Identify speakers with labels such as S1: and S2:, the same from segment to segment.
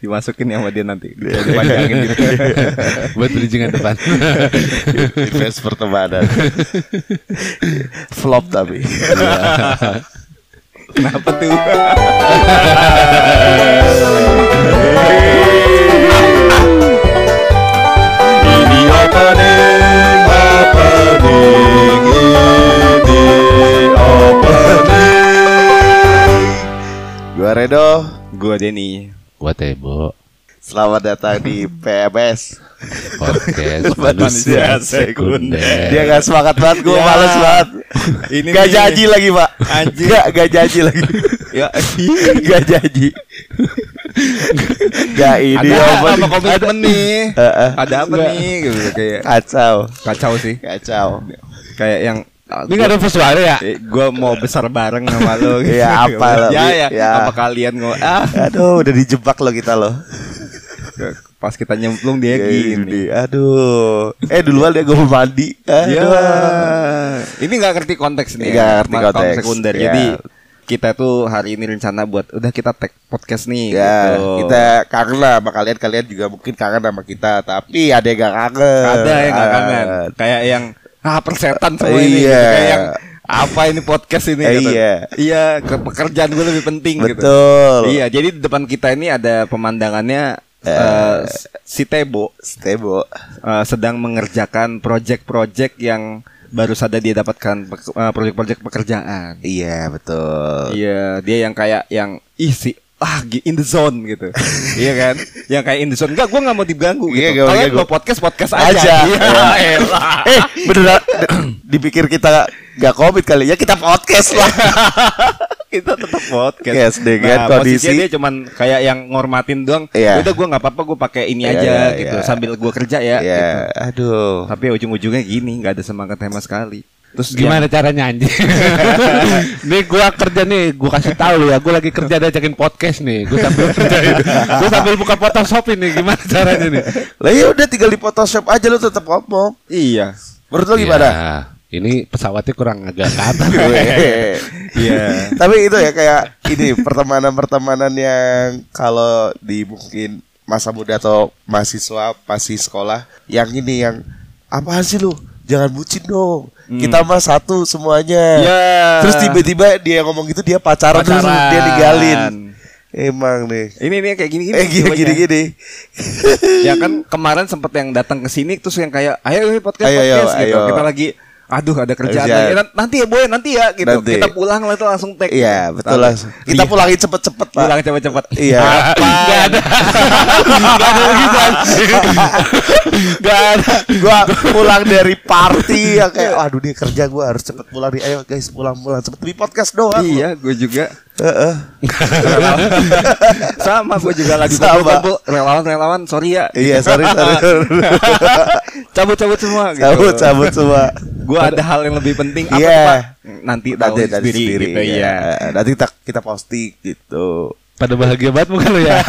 S1: dimasukin ya sama dia nanti dia dipanjangin gitu
S2: buat bridgingan depan.
S3: Invest pertemanan. Flop tapi.
S1: Iya. kenapa tuh
S3: Ini opening, opening, ini opening. Gua Redo,
S1: gua Denny
S2: Buat Ebo
S3: selamat datang di PMS
S2: podcast manusia
S3: Manusia Sekunder.
S2: sekunder.
S3: Dia gak semangat banget, gua
S1: Ya.
S3: males banget.
S1: Ini
S3: gak
S1: nih.
S3: jadi lagi pak,
S1: Anjing.
S3: gak gak jadi lagi,
S1: ya
S3: gak jadi. gak ini
S1: ada apa
S3: opening.
S1: komitmen nih
S3: Eh, eh.
S1: ada apa nih gitu kayak
S3: Kacau,
S1: kacau sih
S3: kacau.
S1: kayak yang ah,
S2: Ini gak ada pesuara ya?
S1: Eh, gua mau besar bareng sama lo gitu.
S3: Ya, apa lo,
S1: ya,
S3: Bi?
S1: ya,
S3: Ya.
S1: apa kalian ngo ah
S3: Aduh, udah dijebak lo kita loh.
S1: pas kita nyemplung dia
S3: Ya,
S1: gini
S3: Aduh. Eh duluan dia gue mau mandi. Aduh.
S1: ya ini nggak ngerti konteks nih
S3: Nggak
S1: ya,
S3: ngerti
S1: mas-
S3: konteks,
S1: sekunder
S3: ya.
S1: jadi kita tuh hari ini rencana buat udah kita tag podcast nih
S3: Ya,
S1: gitu.
S3: kita kangen lah sama kalian. Kalian juga mungkin kangen sama kita, tapi ada yang gak kangen.
S1: ada yang nggak
S3: Ah.
S1: kangen kayak yang ah persetan semua ini gitu.
S3: Iya.
S1: kayak yang apa ini podcast ini
S3: Eh,
S1: gitu.
S3: iya.
S1: iya ke pekerjaan gue lebih penting gitu
S3: Betul.
S1: iya jadi di depan kita ini ada pemandangannya eh, si Tebo
S3: Stebo.
S1: eh, sedang mengerjakan project-project yang baru saja dia dapatkan pe- eh, project-project pekerjaan
S3: Iya, betul.
S1: Iya, dia yang kayak yang ih si ah gi- in the zone gitu. iya kan? Yang kayak in the zone. Enggak, gua nggak mau diganggu
S3: Iya,
S1: gitu.
S3: nggak mau
S1: Kalian
S3: diganggu.
S1: mau podcast podcast aja.
S3: Aja.
S1: Iya,
S3: Iya.
S1: elah.
S3: eh, beneran dipikir kita gak covid kali ya kita podcast lah.
S1: Kita tetap podcast.
S3: Yes, dengan
S1: nah,
S3: kondisi-
S1: posisinya dia cuman kayak yang ngormatin doang. Ya
S3: Iya.
S1: Udah gua nggak apa-apa, gua pakai ini
S3: Iya,
S1: aja
S3: iya,
S1: gitu
S3: iya.
S1: sambil gua kerja ya gitu.
S3: Iya, aduh.
S1: Tapi ujung-ujungnya gini, nggak ada semangat sama sekali. Ya. Terus
S2: Gimana caranya anjing? nih gua kerja nih, gua kasih tahu lu ya, gua lagi kerja ada ajakin podcast nih. Gua sambil kerja ini. Gua sambil buka Photoshop ini gimana caranya nih?
S3: Lah ya udah tinggal di Photoshop aja lo tetap ngomong.
S1: Iya.
S3: Menurut lo
S2: Ya,
S3: gimana?
S2: ini pesawatnya kurang agak ke atas.
S1: Iya.
S3: Tapi itu ya kayak ini pertemanan-pertemanan yang kalau di mungkin masa muda atau mahasiswa pasti sekolah yang ini yang apaan sih lu? Jangan bucin dong. Kita mah satu semuanya.
S1: Hmm. Ya.
S3: Terus tiba-tiba dia ngomong gitu dia pacaran, terus
S1: Pacaran.
S3: dia ninggalin. Emang nih.
S1: Ini nih kayak gini-gini.
S3: Eh gini
S1: jawabannya.
S3: gini gini.
S1: ya kan kemarin sempet yang datang ke sini terus yang kayak ayo ayo podcast
S3: Ayo, ayo,
S1: podcast gitu
S3: ayo.
S1: kita lagi aduh ada kerjaan
S3: Kerjaan.
S1: lagi. Nan- nanti ya boy nanti ya gitu
S3: Nanti.
S1: kita pulang lah itu langsung tag
S3: Iya, betul lah. Kita pulangin cepet-cepet, Pak.
S1: pulang cepet-cepet
S3: Iya.
S2: Gak ada. Gak ada gitu anjing. Gak ada.
S3: gua pulang dari party ya kayak aduh dia kerja gua harus cepet pulang nih ayo guys pulang pulang cepet di podcast doang
S1: iya gue juga
S3: Heeh.
S1: sama gue juga lagi
S3: Sama.
S1: kumpul-kumpul relawan relawan sorry ya
S3: iya sorry sorry
S1: cabut-cabut semua gitu.
S3: cabut cabut semua
S1: gue ada hal yang lebih penting apa
S3: Iya.
S1: tuh, Pak? nanti tahu
S3: nanti nanti
S1: sendiri,
S3: sendiri
S1: gitu
S3: ya.
S1: ya
S3: nanti kita kita posting gitu
S2: Pada bahagia banget muka lu ya.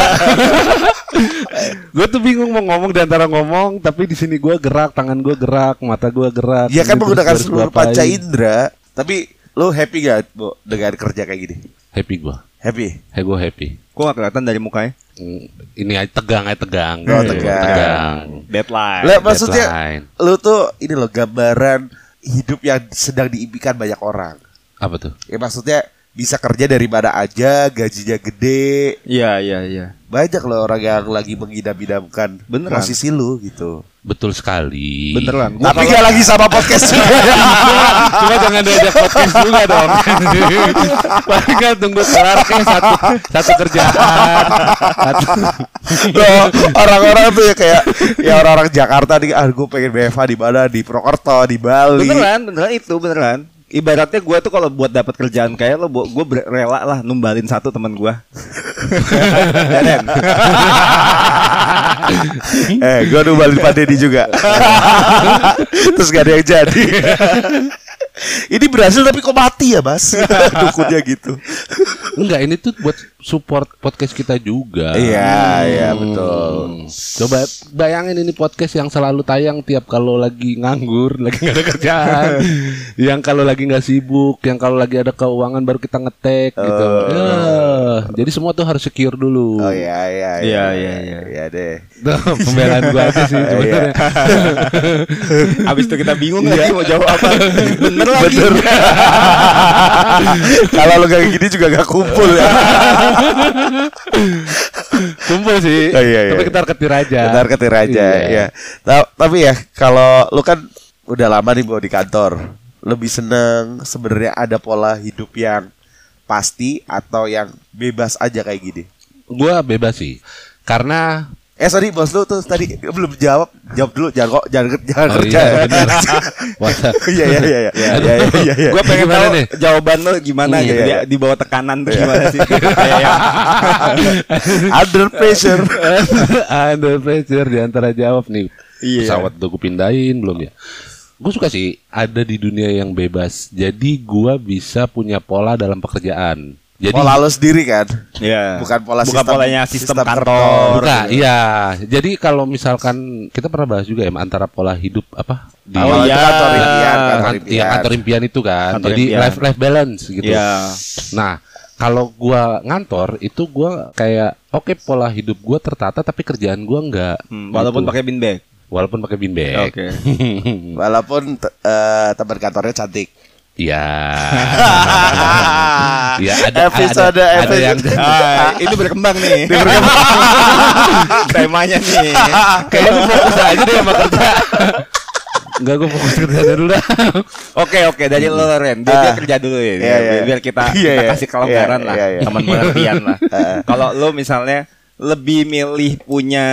S2: gue tuh bingung mau ngomong di antara ngomong, tapi di sini gue gerak, tangan gue gerak, mata gue gerak.
S3: dia kan
S2: Ini
S3: menggunakan
S2: terus gua
S3: seluruh
S2: harus
S3: panca
S2: ngapain.
S3: indera tapi lu happy gak bu dengan kerja kayak gini
S2: Happy gue.
S3: happy
S2: Hey, gue happy.
S1: gue gak kelihatan dari mukanya
S2: Mm, Ini aja tegang aja tegang.
S3: Oh,
S2: Gitu,
S3: tegang.
S1: deadline
S3: lah maksudnya
S2: deadline.
S3: lu tuh ini loh gambaran hidup yang sedang diimpikan banyak orang
S2: Apa tuh?
S3: ya maksudnya bisa kerja dari mana aja gajinya gede
S1: iya iya iya
S3: banyak loh orang yang lagi mengidam-idamkan
S1: Beneran.
S3: posisi lu gitu.
S2: Betul sekali.
S1: beneran Gua
S3: Tapi
S1: kalau-
S3: gak lagi sama podcast juga.
S2: Cuma jangan diajak podcast juga dong. Paling kan tunggu kelar kayak satu satu kerjaan. Satu.
S3: Loh, orang-orang tuh ya kayak ya orang-orang Jakarta nih, ah gue pengen BFA di mana di Prokerto, di Bali.
S1: Beneran, beneran itu beneran. Ibaratnya gue tuh kalau buat dapat kerjaan kayak lo, gue rela lah numbalin satu teman gue. Deren.
S3: eh, gue dulu Bali Pak Deddy juga. Terus gak ada yang jadi. Ini berhasil tapi kok mati ya, Mas? Dukunnya gitu.
S2: Enggak, ini tuh buat support podcast kita juga.
S3: Iya, iya
S2: Hmm.
S3: betul.
S2: Coba bayangin ini podcast yang selalu tayang tiap kalau lagi nganggur, lagi nggak ada kerjaan, yang kalau lagi nggak sibuk, yang kalau lagi ada keuangan baru kita ngetek gitu. Ya, Jadi semua tuh harus secure dulu.
S3: iya. Oh iya iya
S1: Iya, iya, iya.
S3: Iya deh.
S2: Tuh, pembelaan gua aja
S3: Iya.
S2: sih sebenarnya.
S1: Abis itu kita bingung
S3: Iya.
S1: lagi mau jawab apa. Bener lagi.
S3: Kalau lu kayak gini juga gak kumpul ya.
S2: Kumpul sih.
S3: Oh, iya, iya.
S2: Tapi ketar ketir aja.
S3: Bentar ketir aja
S2: Iya.
S3: ya. Ta- Tapi ya kalau lu kan udah lama nih bawa di kantor. Lebih seneng sebenarnya ada pola hidup yang pasti atau yang bebas aja kayak gini.
S2: Gua bebas sih. Karena
S3: Eh sorry bos lu tuh tadi belum jawab Jawab dulu jangan kok jangan, jangan
S2: Oh,
S3: kerja
S2: iya,
S3: ya.
S2: bener. WhatsApp.
S3: Iya iya iya iya iya iya iya.
S1: Gue pengen
S2: Gimana
S1: tahu
S2: nih?
S1: jawaban lo gimana
S3: Iya.
S1: gitu. Dia di bawah tekanan tuh gimana sih? Kayak yang-
S3: Under pressure
S2: Under pressure di antara jawab nih.
S1: Iya.
S2: Pesawat udah gue pindahin belum ya? Gue suka sih ada di dunia yang bebas. Jadi gua bisa punya pola dalam pekerjaan. Jadi
S3: Pola lu sendiri kan
S1: Iya.
S3: Bukan pola
S1: Bukan
S3: sistem-
S1: polanya sistem,
S3: sistem
S1: kantor.
S3: kantor.
S2: Buka, iya. Jadi kalau misalkan kita pernah bahas juga ya antara pola hidup apa di
S1: Oh,
S3: Kalau itu
S1: iya.
S3: kantor impian Kantor
S2: kantor
S3: impian
S2: Kan- iya, kantor ya, impian itu kan.
S1: Kantor
S2: Jadi
S1: impian.
S2: life life balance gitu.
S1: Iya.
S2: Nah, kalau gua ngantor itu gua kayak oke pola hidup gua tertata tapi kerjaan gua enggak.
S1: Hmm, walaupun
S2: Gitu. Iya.
S1: pakai bin bag.
S2: walaupun pakai bin bag.
S1: Oke.
S3: Walaupun te- eh, teman kantornya cantik
S2: Iya. Iya, ada
S3: Episode-
S2: ada, ada
S3: episode.
S2: yang
S1: Ah, ini berkembang nih. Temanya nih.
S2: kayaknya lu fokus aja deh sama kerja. Enggak gua fokus kerja dulu dah.
S1: Oke oke dari lo Ren dia, dia
S3: Ah.
S1: kerja dulu ya
S3: Iya, iya.
S1: biar- biar kita
S3: Iya,
S1: kita
S3: iya.
S1: kasih kelonggaran
S3: Iya,
S1: lah
S3: iya, iya.
S1: teman pengertian lah.
S3: Ah.
S1: Kalau lo misalnya lebih milih punya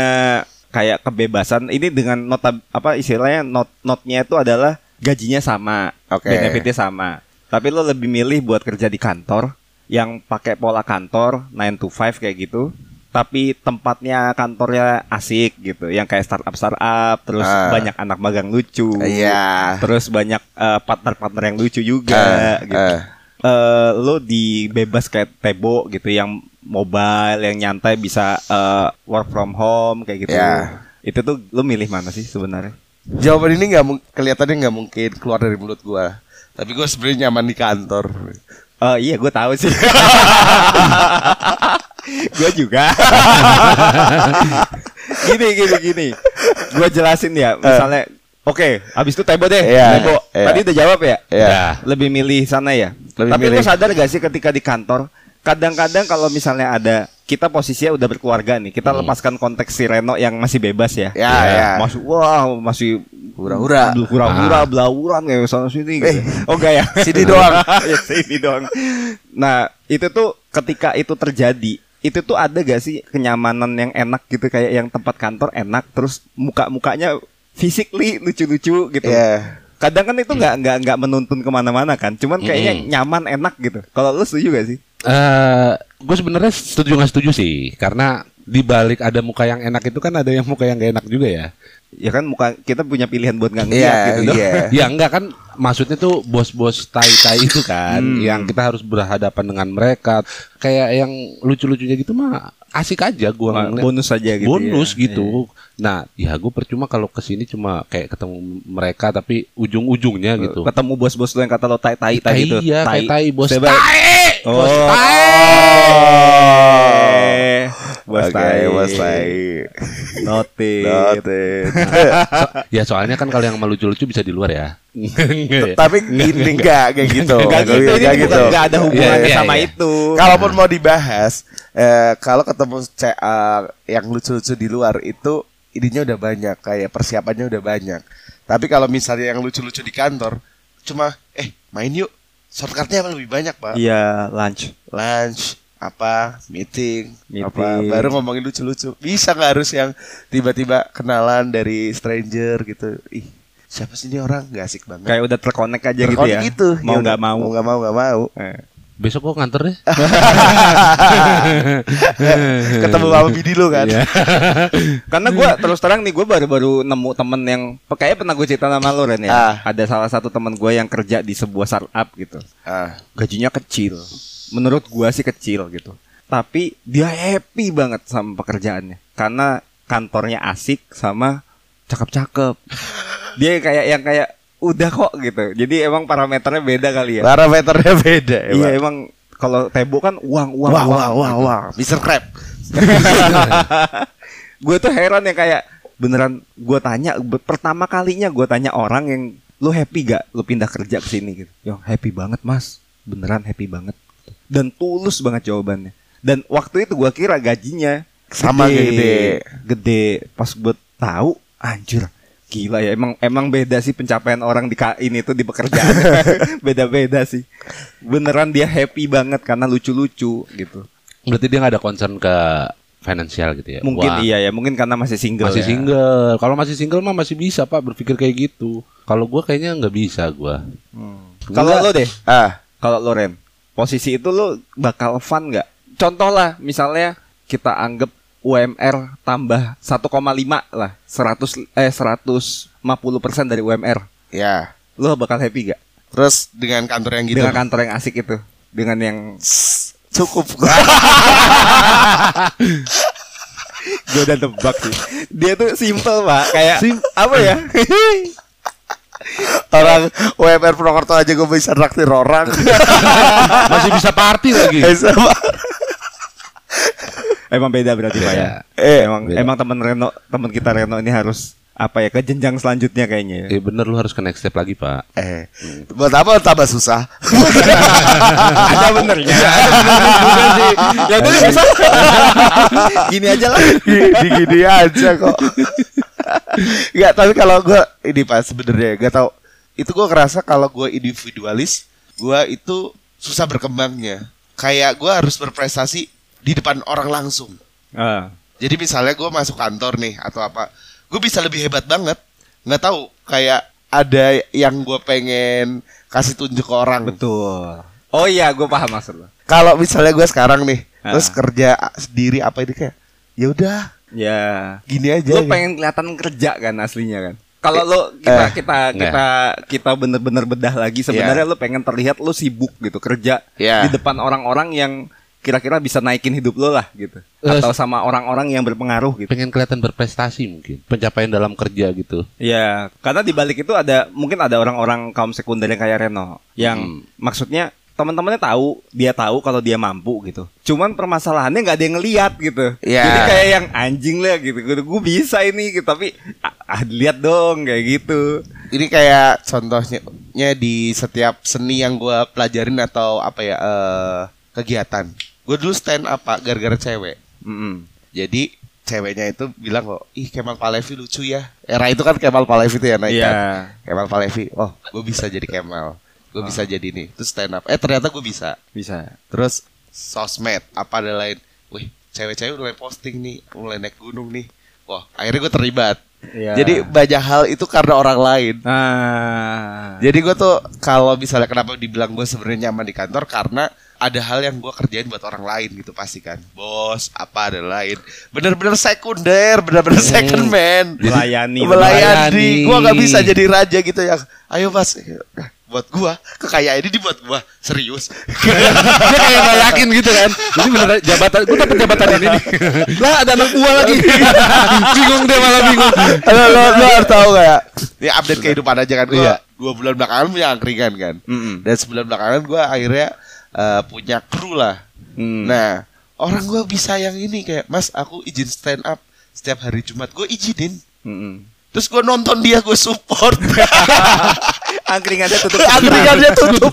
S1: kayak kebebasan ini dengan nota apa istilahnya not notnya itu adalah gajinya sama,
S3: Oke.
S1: benefitnya sama. Tapi lo lebih milih buat kerja di kantor yang pakai pola kantor 9 to 5 kayak gitu. Tapi tempatnya kantornya asik gitu, yang kayak startup startup, terus
S3: Ah.
S1: banyak anak magang lucu,
S3: Iya.
S1: terus banyak eh, partner-partner yang lucu juga
S3: Eh,
S1: gitu.
S3: eh.
S1: Eh, lo di bebas kayak Tebo gitu yang mobile, yang nyantai bisa eh, work from home kayak gitu.
S3: Ya.
S1: Itu tuh lo milih mana sih sebenarnya?
S3: Jawaban ini nggak mung- kelihatannya nggak mungkin keluar dari mulut gua. Tapi gua sebenarnya nyaman di kantor.
S1: Eh iya gue tahu sih. gue juga. gini gini gini. Gue jelasin ya, misalnya Oke, habis itu Tebo deh.
S3: Eh. Iya,
S1: Tebo.
S3: iya.
S1: Tadi udah jawab ya?
S3: Iya.
S2: Nah,
S1: lebih milih sana ya.
S3: Lebih
S1: Tapi lu
S3: milih.
S1: sadar gak sih ketika di kantor, kadang-kadang kalau misalnya ada kita posisinya udah berkeluarga nih, kita lepaskan konteks si Reno yang masih bebas ya.
S3: Hmm. Ya, ya.
S1: Masuk wah, masih
S3: Hura-hura. Ah.
S1: hura-hura, belauran kayak sana sini gitu.
S3: Eh.
S1: Oh enggak ya.
S3: Sini doang.
S1: ya, sini doang. Nah, itu tuh ketika itu terjadi itu tuh ada gak sih kenyamanan yang enak gitu kayak yang tempat kantor enak terus muka-mukanya physically lucu-lucu gitu
S3: Iya.
S1: kadang kan itu nggak nggak nggak menuntun kemana-mana kan cuman kayaknya
S2: Mm-mm.
S1: nyaman enak gitu kalau lu setuju gak sih
S2: Eh, gue sebenarnya setuju nggak setuju sih, karena di balik ada muka yang enak itu kan ada yang muka yang gak enak juga ya.
S1: ya kan muka kita punya pilihan buat nggak ngeliat
S3: Iya,
S1: gitu dong.
S3: iya.
S2: Ya enggak kan maksudnya tuh bos-bos tai-tai itu kan
S1: Hmm.
S2: yang kita harus berhadapan dengan mereka. Kayak yang lucu-lucunya gitu mah asik aja gua
S1: Nah,
S2: ngeliat.
S1: bonus aja gitu ya.
S2: bonus gitu. Nah, ya gue percuma kalau kesini cuma kayak ketemu mereka tapi ujung-ujungnya gitu.
S1: ketemu bos-bos lu yang kata lo tai tai tai Eh, gitu
S2: Iya, kayak tai bos
S1: Saya
S2: tai.
S1: balik-
S2: Bos
S1: Oh.
S3: Oh.
S1: Eh, bos
S3: Oke,
S1: tai
S3: bos tai.
S1: notit
S3: Noted.
S2: Ya soalnya kan kalau yang sama lucu-lucu bisa di luar ya.
S3: Tapi gini enggak kayak gitu.
S1: Nggak gitu, ini
S3: Nggak
S1: bukan nggak ada hubungannya
S2: Iya, iya,
S1: sama
S2: iya.
S1: itu
S3: Kalaupun mau dibahas, eh, kalau ketemu CR yang lucu-lucu di luar itu ininya udah banyak, kayak persiapannya udah banyak. Tapi kalau misalnya yang lucu-lucu di kantor, cuma eh main yuk, shortcutnya emang lebih banyak pak.
S1: iya lunch
S3: Lunch apa meeting,
S1: Meeting.
S3: apa baru ngomongin lucu-lucu bisa nggak harus yang tiba-tiba kenalan dari stranger gitu ih siapa sih ini orang nggak asik banget
S1: kayak udah terkonek aja gitu
S3: Berkode
S1: ya
S3: gitu.
S1: mau nggak
S3: Ya udah,
S1: mau
S3: mau nggak mau nggak mau
S1: Eh.
S2: Besok kok nganter deh.
S3: Ah. ketemu sama bini lu kan
S2: Iya.
S1: Karena gue terus terang nih gue baru-baru nemu temen yang kayaknya pernah gue cerita sama lo Ren ya.
S3: Ah.
S1: Ada salah satu temen gue yang kerja di sebuah startup gitu.
S3: Ah.
S1: Gajinya kecil. Menurut gue sih kecil gitu. Tapi dia happy banget sama pekerjaannya. Karena kantornya asik sama cakep-cakep. Dia kayak yang kayak udah kok gitu. Jadi emang parameternya beda kali ya.
S3: Parameternya beda
S1: Iya emang kalau Tebo kan uang uang
S3: Wah,
S1: uang.
S3: wah, wah, wah, Mr. Crab.
S1: gue tuh heran ya kayak beneran gue tanya be- pertama kalinya gue tanya orang yang lu happy gak lu pindah kerja ke sini gitu yo happy banget mas beneran happy banget dan tulus banget jawabannya dan waktu itu gue kira gajinya
S3: Sama kayak gede.
S1: gede pas gue tahu anjir gila ya emang emang beda sih pencapaian orang di ka- ini tuh di pekerjaan beda-beda sih beneran dia happy banget karena lucu-lucu gitu
S2: Berarti dia nggak ada concern ke finansial gitu ya?
S1: mungkin
S2: Wah,
S1: iya ya mungkin karena masih
S3: gitu
S1: single
S2: Masih
S1: ya.
S2: single. Kalau masih single mah masih bisa pak berpikir kayak gitu. Kalau gua kayaknya nggak bisa gua
S1: Kalau lo deh,
S3: Ah,
S1: kalau lo Ren, posisi itu lo bakal fun nggak? Contoh lah, misalnya kita anggap UMR tambah 1,5 lah, 100 eh 150 dari UMR.
S3: ya.
S1: Lo bakal happy gak
S3: Terus dengan kantor yang gitu.
S1: dengan kantor yang asik itu? Dengan yang
S3: Sss, Cukup.
S1: gue udah tebak sih. Dia tuh simple pak, kayak apa ya?
S3: orang UMR Purwokerto aja gue bisa traktir orang.
S2: masih bisa party lagi.
S3: Eh, sama.
S1: Iya. emang beda berarti pak ya.
S3: Eh,
S1: Emang emang teman Reno, teman kita Reno ini harus apa ya ke jenjang selanjutnya kayaknya. ya.
S2: Eh bener lu harus ke next step lagi pak.
S3: Eh, buat apa tambah susah?
S1: ada benernya ada benernya juga sih ya udah deh, besok. gini aja lah
S3: gini, gini aja kok. Gak, tapi kalau gue ini pas sebenarnya gak tau. Itu gue ngerasa kalau gue individualis, gue itu susah berkembangnya. Kayak gue harus berprestasi di depan orang langsung.
S1: Ah,
S3: Jadi misalnya gue masuk kantor nih atau apa, gue bisa lebih hebat banget. Nggak tahu kayak ada yang gue pengen kasih tunjuk ke orang.
S1: betul oh iya gue paham maksud lo
S3: Kalau misalnya gue sekarang nih,
S1: Ah.
S3: terus kerja a- sendiri apa ini kayak, ya udah
S1: ya
S3: gini aja.
S1: lo
S3: ya.
S1: pengen kelihatan kerja kan aslinya kan kalau lo kita
S3: Eh,
S1: kita
S2: enggak.
S1: kita kita bener-bener bedah lagi sebenarnya lo pengen terlihat lo sibuk gitu kerja
S3: Iya.
S1: di depan orang-orang yang kira-kira bisa naikin hidup lo lah gitu
S2: Eh,
S1: atau sama orang-orang yang berpengaruh gitu
S2: Pengen kelihatan berprestasi mungkin. Pencapaian dalam kerja gitu.
S1: Ya, karena di balik itu ada mungkin ada orang-orang kaum sekunder yang kayak Reno, yang maksudnya teman-temannya tahu, dia tahu kalau dia mampu gitu. Cuman permasalahannya nggak ada yang ngelihat gitu.
S3: Ya.
S1: Jadi kayak yang anjing lah gitu. Gue gue bisa ini gitu, tapi ah, ah, lihat dong kayak gitu.
S3: Ini kayak contohnya nya di setiap seni yang gue pelajarin atau apa ya eh, kegiatan. Gue dulu stand apa gara-gara cewek.
S1: Mm-mm.
S3: Jadi ceweknya itu bilang kok, ih Kemal Palevi lucu ya. Era itu kan Kemal Palevi itu ya naik kan.
S1: Iya.
S3: Kemal Palevi, oh gue bisa jadi Kemal. Gue bisa jadi nih. Terus stand up. Eh ternyata gue bisa.
S1: Bisa.
S3: Terus sosmed apa ada lain. Wih, cewek-cewek mulai posting nih, mulai naik gunung nih. Wah, akhirnya gue terlibat.
S1: Iya.
S3: Jadi banyak hal itu karena orang lain.
S1: Ah.
S3: Jadi gue tuh kalau misalnya kenapa dibilang gue sebenarnya nyaman di kantor karena ada hal yang gue kerjain buat orang lain gitu pasti kan bos apa ada lain bener-bener sekunder bener-bener second man
S1: Melayani.
S3: melayani
S2: Melayani.
S3: gue nggak bisa jadi raja gitu ya ayo mas Nah, buat gue kekayaan ini dibuat gue serius
S2: Dia kayak nggak yakin gitu kan. Ini bener jabatan. Gue dapet jabatan ini nih. lah ada anak gua lagi. bingung deh malah bingung.
S3: lo lo lo harus tahu gak ya update kehidupan aja kan gue
S2: Iya.
S3: dua bulan belakangan punya angkringan kan
S1: Mm-mm.
S3: dan sebulan belakangan gue akhirnya eh, punya kru lah
S1: Hmm.
S3: nah orang gue bisa yang ini kayak mas aku izin stand up setiap hari jumat gue izinin
S1: Mm-mm.
S3: terus gue nonton dia gue support
S1: Angkringannya tutup.
S3: angkringannya tutup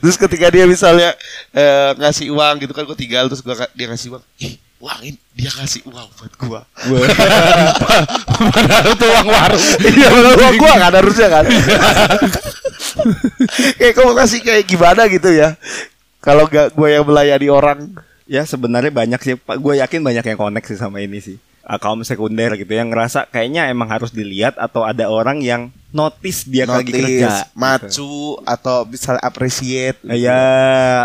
S3: terus ketika dia misalnya eh, ngasih uang gitu kan gue tinggal terus gua ka- dia ngasih uang ih uang ini dia ngasih uang buat gue
S2: Padahal tuh uang warung.
S3: Iya bener gua, gua kan harusnya kan Kayak kamu kasih kayak gimana gitu ya Kalau gak gue yang melayani orang
S1: Ya sebenarnya banyak sih Pak. Gue yakin banyak yang connect sih sama ini sih. Ah, Kaum sekunder gitu yang ngerasa kayaknya emang harus dilihat atau ada orang yang notice
S3: Iya,
S1: dia lagi kerja.
S3: Notice, Macu Atau misalnya appreciate
S1: Gitu. Ya,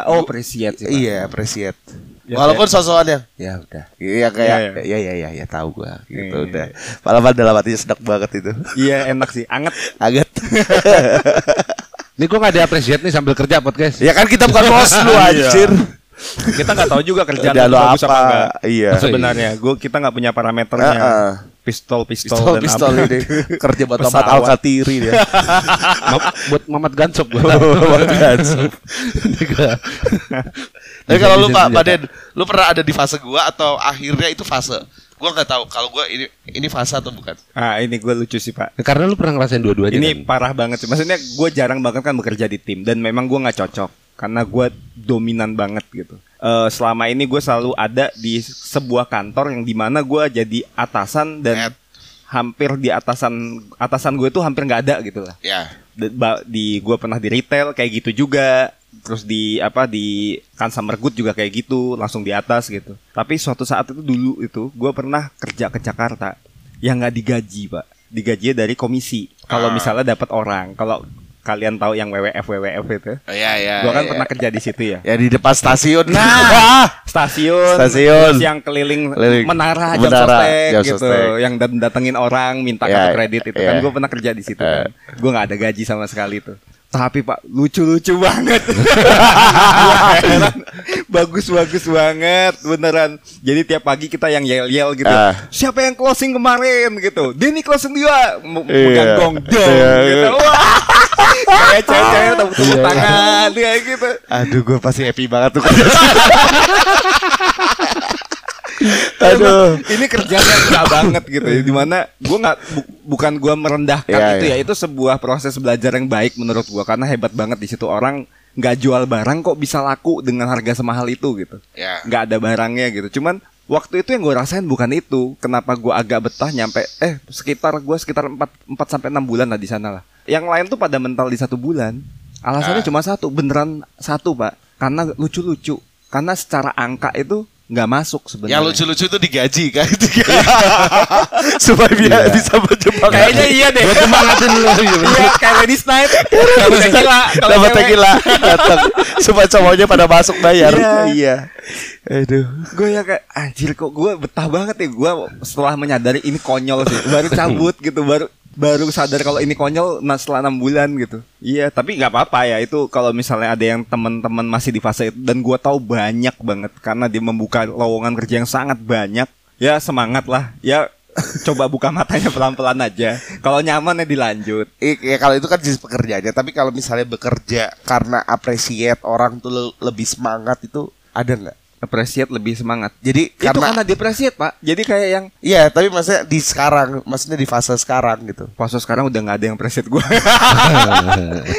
S1: oh appreciate sih. Pak.
S3: Iya appreciate
S1: Ya,
S3: Walaupun sosokan yang Ya udah Iya kayak
S1: Ya, ya.
S3: Ya ya ya ya tahu gue
S1: Iya,
S3: gitu udah Malah pada dalam hatinya sedap banget itu
S1: Iya, enak sih, anget.
S3: Agak
S2: Nih gua nggak ada appreciate nih sambil kerja podcast.
S3: Ya kan kita bukan bos lu
S1: Iya.
S3: anjir
S1: Kita nggak tahu juga kerjaan
S3: Udah
S1: lu
S3: lo
S1: bagus apa
S3: apa
S1: enggak.
S3: Iya
S1: Sebenarnya, gue kita nggak punya parameternya.
S3: Heeh.
S1: pistol pistol,
S3: pistol
S1: dan
S3: pistol
S1: apa.
S3: ini kerja buat tempat
S1: Pesawat.
S3: alkatiri dia
S2: Ma- buat Mamat Gansop gue
S3: Oh, tapi kalau lu pak Baden lu pernah ada di fase gua atau akhirnya itu fase gua nggak tahu kalau gua ini ini fase atau bukan
S1: Ah ini gue lucu sih pak.
S2: Karena lu pernah ngerasain dua-duanya
S1: Ini
S2: kan?
S1: parah banget sih. Maksudnya gue jarang banget kan bekerja di tim dan memang gue nggak cocok karena gue dominan banget gitu. Eh, selama ini gue selalu ada di sebuah kantor yang dimana gue jadi atasan dan
S3: Net.
S1: hampir di atasan atasan gue tuh hampir nggak ada gitu lah.
S3: ya
S1: Di- ba- di gue pernah di retail kayak gitu juga terus di apa di consumer good juga kayak gitu langsung di atas gitu tapi suatu saat itu dulu itu gue pernah kerja ke Jakarta yang nggak digaji pak digaji dari komisi kalau
S3: Ah.
S1: misalnya dapat orang kalau kalian tahu yang WWF WWF itu
S3: Oh, ya ya
S1: gue kan
S3: ya.
S1: pernah kerja di situ ya
S3: ya di depan stasiun
S1: Nah, stasiun,
S3: Stasiun.
S1: terus yang keliling,
S3: Keliling.
S1: menara jam
S3: Menara,
S1: sostek
S3: jam
S1: gitu,
S3: sostek.
S1: yang dat- datengin orang minta
S3: Ya,
S1: kartu kredit itu kan
S3: ya.
S1: gue pernah kerja di situ
S3: Eh.
S1: kan, gue nggak ada gaji sama sekali tuh. Tapi pak lucu-lucu banget, Wah, heran. bagus-bagus banget, beneran. Jadi tiap pagi kita yang yel-yel gitu.
S3: Ah.
S1: Siapa yang closing kemarin gitu? Denny closing dia, M-
S3: Iya.
S1: megang gong dong
S3: Iya.
S1: gitu. Wah, kayak cewek-cewek tepuk tangan kayak gitu.
S3: aduh gua pasti happy banget tuh kerja di situ. aduh
S1: Emang ini kerjanya enggak banget gitu ya dimana gue nggak bu- bukan gue merendahkan
S3: Iya,
S1: itu
S3: iya.
S1: ya itu sebuah proses belajar yang baik menurut gue karena hebat banget di situ orang nggak jual barang kok bisa laku dengan harga semahal itu gitu
S3: Iya.
S1: nggak ada barangnya gitu cuman waktu itu yang gue rasain bukan itu kenapa gue agak betah nyampe eh sekitar gue sekitar 4 4 sampai enam bulan lah di sana lah yang lain tuh pada mental di satu bulan alasannya
S3: Ah.
S1: cuma satu beneran satu pak karena lucu-lucu karena secara angka itu nggak masuk sebenarnya
S3: yang Ya, lucu-lucu tuh digaji kan supaya
S2: Iya.
S3: biar bisa menjebak
S1: Kayaknya iya deh.
S2: Gue semangatin lu
S1: Iya, kayak ladies night. Kalau tequila, ya. kalau
S3: Dapat
S1: cewek.
S3: tequila datang. Supaya cowoknya pada masuk bayar.
S1: Iya.
S3: Iya. Aduh.
S1: Gue ya kayak anjir kok gue betah banget ya gue setelah menyadari ini konyol sih. Baru cabut gitu, baru baru sadar kalau ini konyol nah setelah enam bulan gitu. Iya, tapi nggak apa-apa ya itu kalau misalnya ada yang teman-teman masih di fase itu dan gue tahu banyak banget karena dia membuka lowongan kerja yang sangat banyak. Ya semangat lah. Ya coba buka matanya pelan-pelan aja. Kalau nyaman ya dilanjut.
S3: I- Ya kalau itu kan jenis pekerjaannya, tapi kalau misalnya bekerja karena appreciate orang tuh le- lebih semangat itu ada nggak?
S1: Appreciate lebih semangat.
S3: Jadi
S1: itu
S3: karena
S1: karena depresiat pak jadi kayak yang
S3: Iya, tapi maksudnya di sekarang, maksudnya di fase sekarang gitu.
S1: Poso sekarang udah nggak ada yang preset gue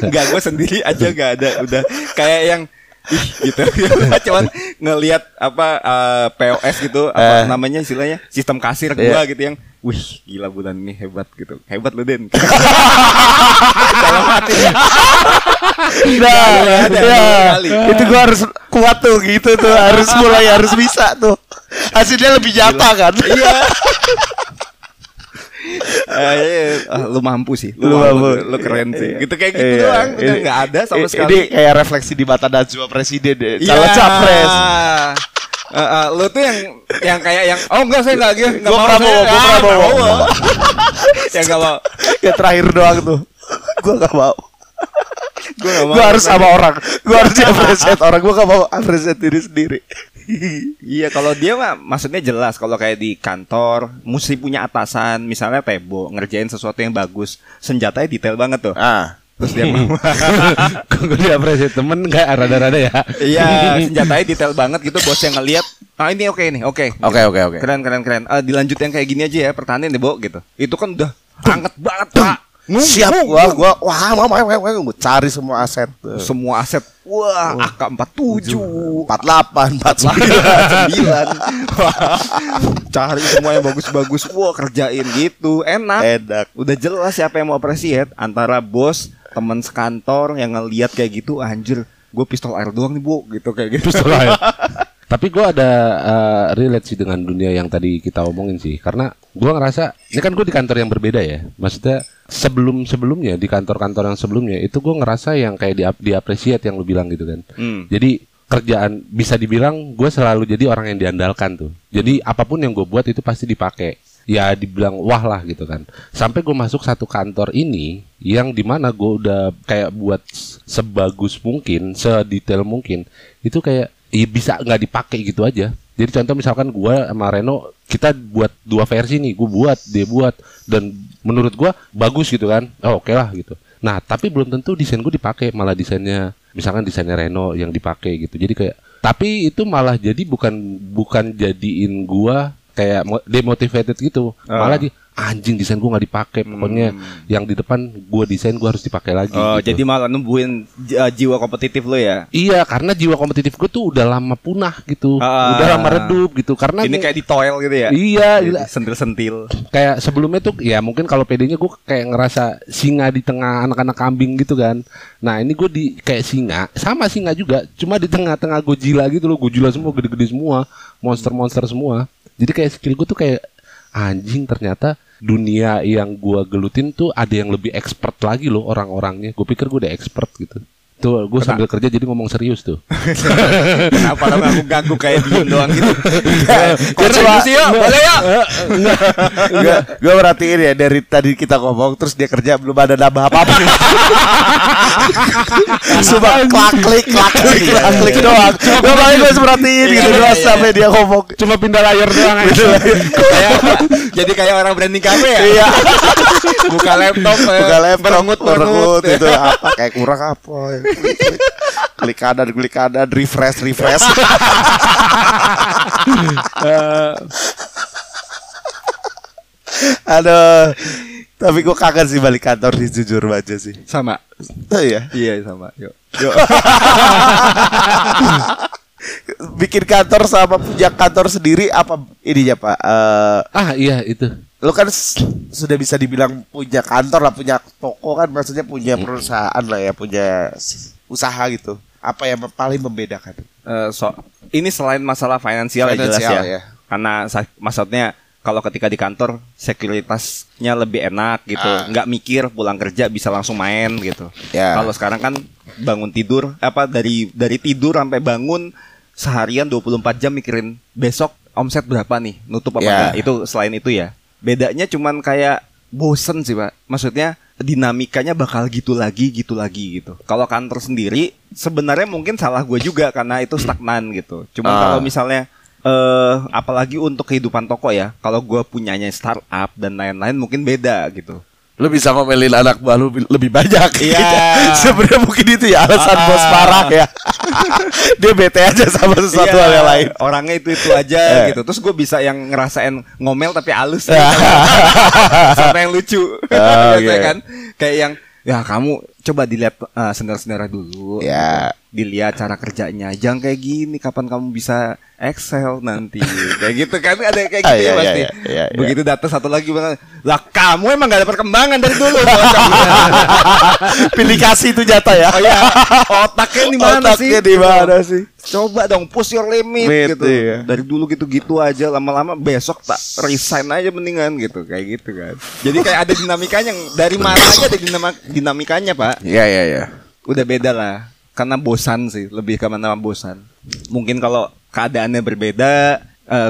S1: nggak gue sendiri aja nggak ada udah kayak yang ih, gitu cuman ngelihat apa eh, POS gitu apa
S3: Eh.
S1: namanya istilahnya sistem kasir gue
S3: Iya.
S1: gitu yang wih gila bulan ini hebat gitu hebat lu Den dalam hati
S3: Nah,
S1: Iya, ada,
S3: nah,
S1: ada kali.
S3: itu gua harus kuat tuh gitu tuh, harus mulai harus bisa tuh. Hasilnya lebih nyata kan?
S1: iya Eh, iya. Ah, lu mampu sih lu,
S3: Lu
S1: mampu,
S3: mampu.
S1: lu keren sih
S3: Iya.
S1: gitu kayak gitu
S3: Iya.
S1: doang udah
S3: Ini-
S1: nggak ada sama
S3: i-
S1: sekali
S3: Ini kayak refleksi di mata Najwa presiden deh,
S1: Iya.
S3: calon capres.
S1: Eh, eh, lu tuh yang yang kayak yang oh enggak saya enggak gitu.
S3: Gua Prabowo, gua Prabowo.
S1: ya enggak mau.
S3: Yang terakhir doang tuh. Gua gak mau.
S1: Gua nggak mau.
S3: Gua harus sama orang. Gua harus appreciate orang. Gua gak mau appreciate diri sendiri.
S1: Iya, kalau dia mah maksudnya jelas kalau kayak di kantor mesti punya atasan, misalnya Tebo ngerjain sesuatu yang bagus, senjatanya detail banget tuh.
S3: Ah.
S1: Terus dia mau
S2: Gue diapresiasi temen gak rada-rada ya
S1: Iya, senjatanya detail banget gitu bos yang ngelihat, "Ah ini oke nih, oke."
S3: Oke, oke, oke.
S1: Keren keren keren. Eh, dilanjut yang kayak gini aja ya, pertahanin deh, Bo gitu. Itu kan udah anget banget, Pak.
S3: Siap gua, gua wah, wah, wah, wah, wah, gua cari semua aset.
S1: semua aset wah AK47
S3: 48, 49.
S1: 9 cari semua yang bagus-bagus wah kerjain gitu enak
S3: Enak.
S1: udah jelas siapa yang mau appreciate antara bos teman sekantor yang ngeliat kayak gitu anjir gue pistol air doang nih bu gitu kayak gitu
S2: Terus lain. Tapi gue ada eh, relate sih dengan dunia yang tadi kita omongin sih Karena gue ngerasa Ini kan gue di kantor yang berbeda ya Maksudnya sebelum-sebelumnya Di kantor-kantor yang sebelumnya Itu gue ngerasa yang kayak diap diapresiat yang lu bilang gitu kan
S1: Hmm.
S2: Jadi kerjaan bisa dibilang gue selalu jadi orang yang diandalkan tuh Jadi apapun yang gue buat itu pasti dipakai Ya dibilang wah lah gitu kan Sampai gue masuk satu kantor ini Yang dimana gue udah kayak buat s- sebagus mungkin Sedetail mungkin Itu kayak ya bisa nggak dipakai gitu aja. Jadi contoh misalkan gua sama Reno kita buat dua versi nih gue buat dia buat dan menurut gua bagus gitu kan oh, oke lah gitu nah tapi belum tentu desain gue dipakai malah desainnya misalkan desainnya Reno yang dipakai gitu jadi kayak tapi itu malah jadi bukan bukan jadiin gua kayak mo- demotivated gitu
S1: Ah. Hmm.
S2: malah di anjing desain gua nggak dipakai pokoknya yang di depan gua desain gua harus dipakai lagi
S1: Oh,
S2: gitu.
S1: jadi malah numbuhin j- eh, jiwa kompetitif lo ya.
S2: Iya, karena jiwa kompetitif gue tuh udah lama punah gitu,
S1: Ah.
S2: udah lama redup gitu. Karena
S1: Ini
S2: gua-
S1: kayak di toil gitu ya.
S2: iya, gila.
S1: Sentil-sentil.
S2: kayak sebelumnya tuh ya mungkin kalau PD-nya gue kayak ngerasa singa di tengah anak-anak kambing gitu kan. Nah ini gue di kayak singa, sama singa juga, cuma di tengah-tengah Godzilla gitu loh, Godzilla semua gede-gede semua, monster-monster semua. Jadi kayak skill gue tuh kayak anjing ternyata dunia yang gua gelutin tuh ada yang lebih expert lagi loh orang-orangnya. Gue pikir gue udah expert gitu. Tuh gue sambil kerja jadi ngomong serius tuh.
S1: Kenapa lo ngaku ganggu kayak diem doang gitu?
S2: ya?
S3: Kontribusi
S1: yuk, boleh yuk.
S3: Gue gue merhatiin Iya. ya dari tadi kita ngomong terus dia kerja belum ada nambah apa-apa. Iya. Cuma klak klik klak klik klak klik doang. Gue paling gue merhatiin gitu doang sampai dia ngomong.
S2: Cuma pindah layar doang
S1: kayak jadi kayak orang branding kafe ya.
S3: Iya.
S1: Buka laptop, eh,
S3: Buka laptop,
S1: merengut,
S3: ya? merengut
S1: merengut.
S3: itu apa kayak kurang apa. ya? Klik kanan, klik kanan, refresh, refresh. Aduh. Tapi gue kangen sih balik kantor sih jujur aja sih.
S1: Sama.
S3: Oh iya.
S1: Iya sama. Yuk. Yuk.
S3: bikin kantor sama punya kantor sendiri apa ini ya pak Eh,
S2: ah iya itu.
S3: lo kan s- sudah bisa dibilang punya kantor lah punya toko kan maksudnya punya perusahaan lah ya punya s- usaha gitu apa yang mem- paling membedakan
S1: Eh, so, ini selain masalah finansial, ya jelas ya.
S3: Finansial, ya.
S1: Karena sa- maksudnya kalau ketika di kantor sekuritasnya lebih enak gitu,
S3: Ah.
S1: nggak mikir pulang kerja bisa langsung main gitu.
S3: Ya.
S1: Kalau sekarang kan bangun tidur apa dari dari tidur sampai bangun seharian 24 jam mikirin besok omset berapa nih, nutup apa
S3: Ya.
S1: enggak. Itu selain itu ya. Bedanya cuman kayak bosen sih, Pak. Maksudnya dinamikanya bakal gitu lagi, gitu lagi gitu. Kalau kantor sendiri sebenarnya mungkin salah gue juga karena itu stagnan gitu. Cuman
S3: Ah.
S1: kalau misalnya eh apalagi untuk kehidupan toko ya. Kalau gue punyanya startup dan lain-lain mungkin beda gitu.
S3: lo bisa ngomelin anak buah lu bi- lebih banyak
S1: Iya.
S3: sebenarnya mungkin itu ya alasan
S1: Ah.
S3: bos parah ya dia bete aja sama sesuatu
S1: Iya,
S3: hal yang lain
S1: Orangnya itu itu
S3: Eh.
S1: aja gitu. Terus gue bisa yang ngerasain ngomel tapi halus gitu. sampai yang lucu. Biasanya
S3: Ah, oke.
S1: kan kayak yang ya kamu coba dilihat eh, sendera-sendera dulu. Gitu.
S3: Ya.
S1: Dilihat cara kerjanya. Jangan kayak gini kapan kamu bisa Excel nanti. kayak gitu kan ada kayak
S3: Ah,
S1: gitu ya
S3: iya, iya,
S1: pasti.
S3: iya, iya, iya.
S1: Begitu datang satu lagi bilang, "Lah kamu emang gak ada perkembangan dari dulu." bocah."
S3: pilih kasih itu jatah ya
S1: oh, ya. Otaknya di mana sih?
S3: Otaknya di mana sih?
S1: coba dong push your limit
S3: Limit,
S1: gitu
S3: iya.
S1: dari dulu gitu-gitu aja lama-lama besok tak resign aja mendingan gitu kayak gitu kan jadi kayak ada dinamikanya dari mana aja ada dinama- dinamikanya pak
S3: ya ya ya
S1: udah beda lah karena bosan sih lebih ke mana bosan mungkin kalau keadaannya berbeda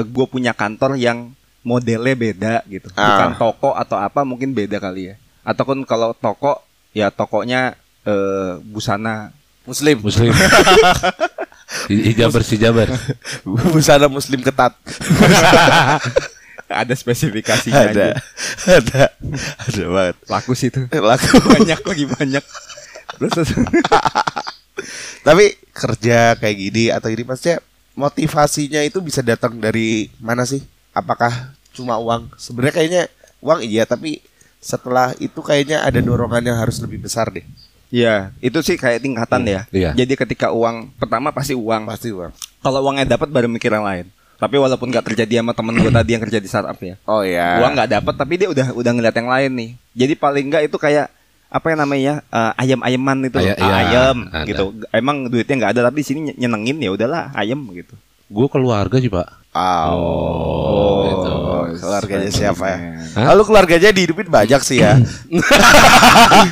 S1: gue punya kantor yang modelnya beda gitu bukan
S3: Ah.
S1: toko atau apa mungkin beda kali ya ataupun kalau toko ya tokonya eh, busana
S3: muslim
S2: Muslim. Hijaber si Jabar.
S3: busana muslim ketat
S1: ada spesifikasinya
S3: ada
S1: aja.
S3: ada ada banget
S1: laku sih itu
S3: laku
S1: banyak lagi banyak terus
S3: tapi kerja kayak gini atau ini maksudnya motivasinya itu bisa datang dari mana sih apakah cuma uang sebenarnya kayaknya uang iya tapi setelah itu kayaknya ada dorongan yang harus lebih besar deh
S1: ya itu sih kayak tingkatan ya
S2: iya.
S1: jadi ketika uang pertama pasti uang
S3: pasti uang
S1: kalau uangnya dapat baru mikir yang lain tapi walaupun nggak terjadi sama temen gue tadi yang kerja di startup ya
S3: oh
S2: iya.
S3: ya
S1: uang nggak dapat tapi dia udah udah ngeliat yang lain nih jadi paling nggak itu kayak apa yang namanya eh, ayam-ayaman itu Ah,
S2: Aya- iya,
S1: ayam
S2: ada.
S1: gitu emang duitnya nggak ada tapi di sini nyenengin ya udahlah ayam gitu
S2: Gue keluarga sih pak.
S3: oh,
S2: gitu.
S3: keluarganya siapa ya
S2: Hah?
S3: lalu keluarganya dihidupin banyak sih ya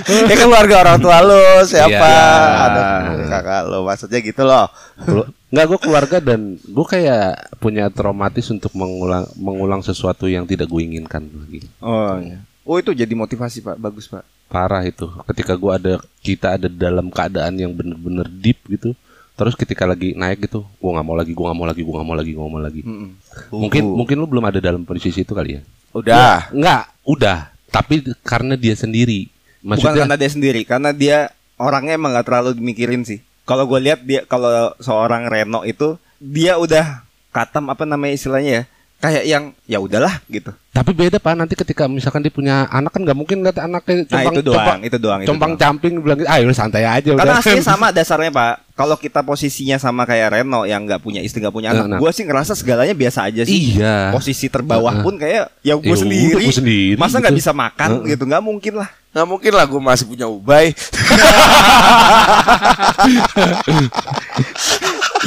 S3: ya kan keluarga orang tua lo siapa
S2: Iya.
S3: ada kakak lo maksudnya gitu loh
S2: Kelu- Nggak gue keluarga dan gue kayak punya traumatis untuk mengulang mengulang sesuatu yang tidak gue inginkan lagi.
S1: oh iya. oh itu jadi motivasi pak bagus pak
S2: Parah itu. Ketika gue ada kita ada dalam keadaan yang bener-bener deep gitu, terus ketika lagi naik gitu gua nggak mau lagi gua nggak mau lagi gua nggak mau lagi gua nggak mau lagi
S1: Mm-mm.
S2: mungkin mungkin lu belum ada dalam posisi itu kali ya
S1: Iya.
S3: Udah.
S2: nggak udah tapi karena dia sendiri
S1: Bukan
S2: maksudnya
S1: karena dia sendiri, karena dia orangnya emang gak terlalu mikirin sih. Kalau gue lihat dia kalau seorang Reno itu dia udah katam apa namanya istilahnya ya, kayak yang ya udahlah gitu.
S2: tapi beda pak nanti ketika misalkan dia punya anak kan nggak mungkin lihat anaknya
S1: Nah
S2: compang
S1: itu doang,
S2: compang,
S1: itu doang. Itu
S2: compang
S1: doang.
S2: camping bilang ah udah santai aja
S1: Karena
S2: udah
S1: aslinya sama dasarnya pak. Kalau kita posisinya sama kayak Reno yang nggak punya istri nggak punya
S2: Nah,
S1: anak,
S2: nah.
S1: gue sih ngerasa segalanya biasa aja sih.
S2: iya
S1: Posisi terbawah
S2: Nah,
S1: pun kayak ya gue
S2: Ya udah,
S1: sendiri.
S2: gua sendiri,
S1: Masa nggak
S2: gitu.
S1: bisa makan
S2: Heeh.
S1: gitu? Nggak mungkin lah.
S3: Nggak mungkin lah gue masih punya ubay.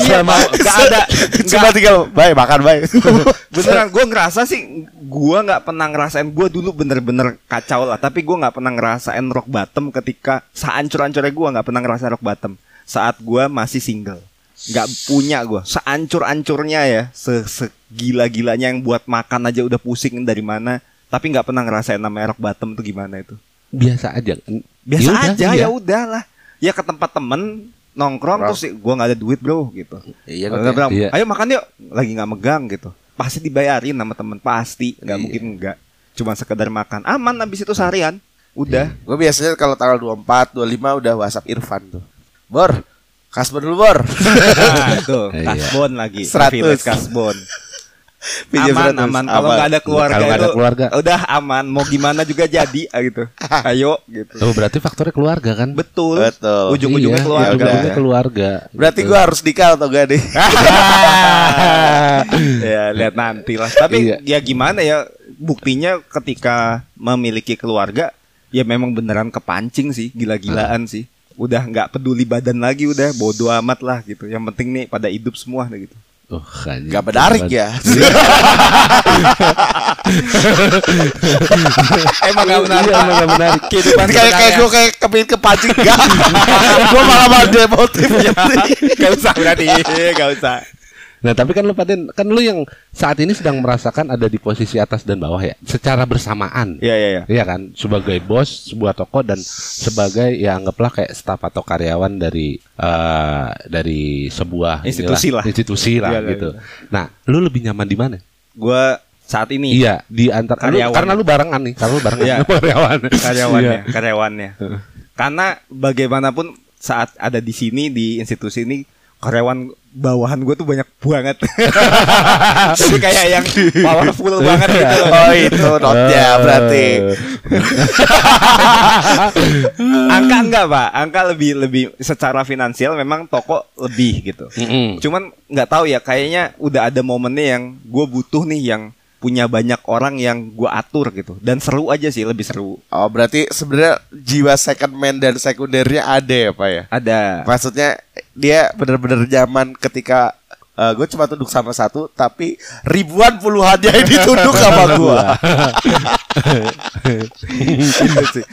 S1: Iya, Pak. nggak ada. nggak-
S3: Cuma tinggal bay makan bay.
S1: Beneran gue ngerasa sih gue nggak pernah ngerasain gue dulu bener-bener kacau lah tapi gue nggak pernah ngerasain rock bottom ketika seancur-ancurnya gue nggak pernah ngerasain rock bottom saat gue masih single nggak punya gue seancur-ancurnya ya se segila-gilanya yang buat makan aja udah pusing dari mana tapi nggak pernah ngerasain namanya rock bottom tuh gimana itu
S2: biasa aja
S1: biasa
S2: Ya udah,
S1: aja
S2: iya.
S1: ya udahlah ya ke tempat temen nongkrong terus sih gue nggak ada duit bro gitu
S3: Iya
S1: Kalau dia bilang,
S2: Iya.
S1: ayo makan yuk lagi nggak megang gitu pasti dibayarin sama temen pasti nggak
S3: Iya.
S1: mungkin nggak cuma sekedar makan aman abis itu seharian udah
S3: Gue biasanya kalau tanggal 24, 25 udah WhatsApp Irfan tuh. Bor, kasbar dulu bor.
S1: nah, tuh
S2: Iya.
S1: kasbon lagi
S3: 100.
S1: privilege kasbon
S3: Pinjam
S1: aman aman
S3: 100,
S1: kalau
S3: aman.
S1: nggak ada keluarga
S2: Kalau nggak ada
S1: itu
S2: keluarga.
S1: udah aman mau gimana juga jadi gitu ayo gitu
S2: Oh, berarti faktornya keluarga kan
S1: betul,
S3: Betul.
S1: ujung-ujungnya
S2: Iya,
S1: keluarga
S2: ujung-ujungnya keluarga Gitu.
S3: Berarti gue harus nikah atau gak nih?
S1: ya lihat nanti lah tapi
S2: Iya.
S1: ya gimana ya buktinya ketika memiliki keluarga ya memang beneran kepancing sih gila-gilaan sih udah nggak peduli badan lagi udah bodo amat lah gitu yang penting nih pada hidup semua dah gitu
S2: Oh, anjing.
S3: Gak menarik ya.
S1: Iya, emang nggak menarik Iya, emang nggak menarik ya. kehidupan
S3: kayak kayak gue kayak kepingin kepancing gak. gue malah malah demotif. ya.
S1: nggak usah berarti nggak usah
S2: Nah, tapi kan lu Patin, kan lu yang saat ini sedang merasakan ada di posisi atas dan bawah ya, secara bersamaan.
S1: ya ya ya
S2: Iya kan, sebagai bos sebuah toko dan sebagai ya anggaplah kayak staf atau karyawan dari eh dari sebuah
S1: Institusi lah.
S2: inilah, institusi lah
S1: Iya, iya,
S2: gitu. Nah, lu lebih nyaman di mana?
S1: gue saat ini
S2: Iya, di antara lu-
S1: Karyawan.
S2: karena lu barengan nih, karena lu barengan
S1: Iya.
S2: sama karyawan.
S1: karyawannya
S2: Iya.
S1: karyawannya karena bagaimanapun saat ada di sini di institusi ini karyawan bawahan gue tuh banyak banget jadi kayak yang powerful banget gitu loh
S3: Oh
S1: ya,
S2: Eh,
S3: itu
S2: Ah.
S3: notnya berarti.
S1: angka enggak pak angka lebih lebih secara finansial memang toko lebih gitu
S3: Hmm.
S2: Mm-mm.
S1: cuman nggak tahu ya kayaknya udah ada momennya yang gue butuh nih yang punya banyak orang yang gue atur gitu dan seru aja sih lebih seru
S3: Oh berarti sebenarnya jiwa second man dan sekundernya ada ya pak ya?
S1: ada
S3: Maksudnya dia bener-bener nyaman ketika eh, gue cuma tunduk sama satu, tapi ribuan puluhannya ini tunduk sama gue.
S1: Gitu sih.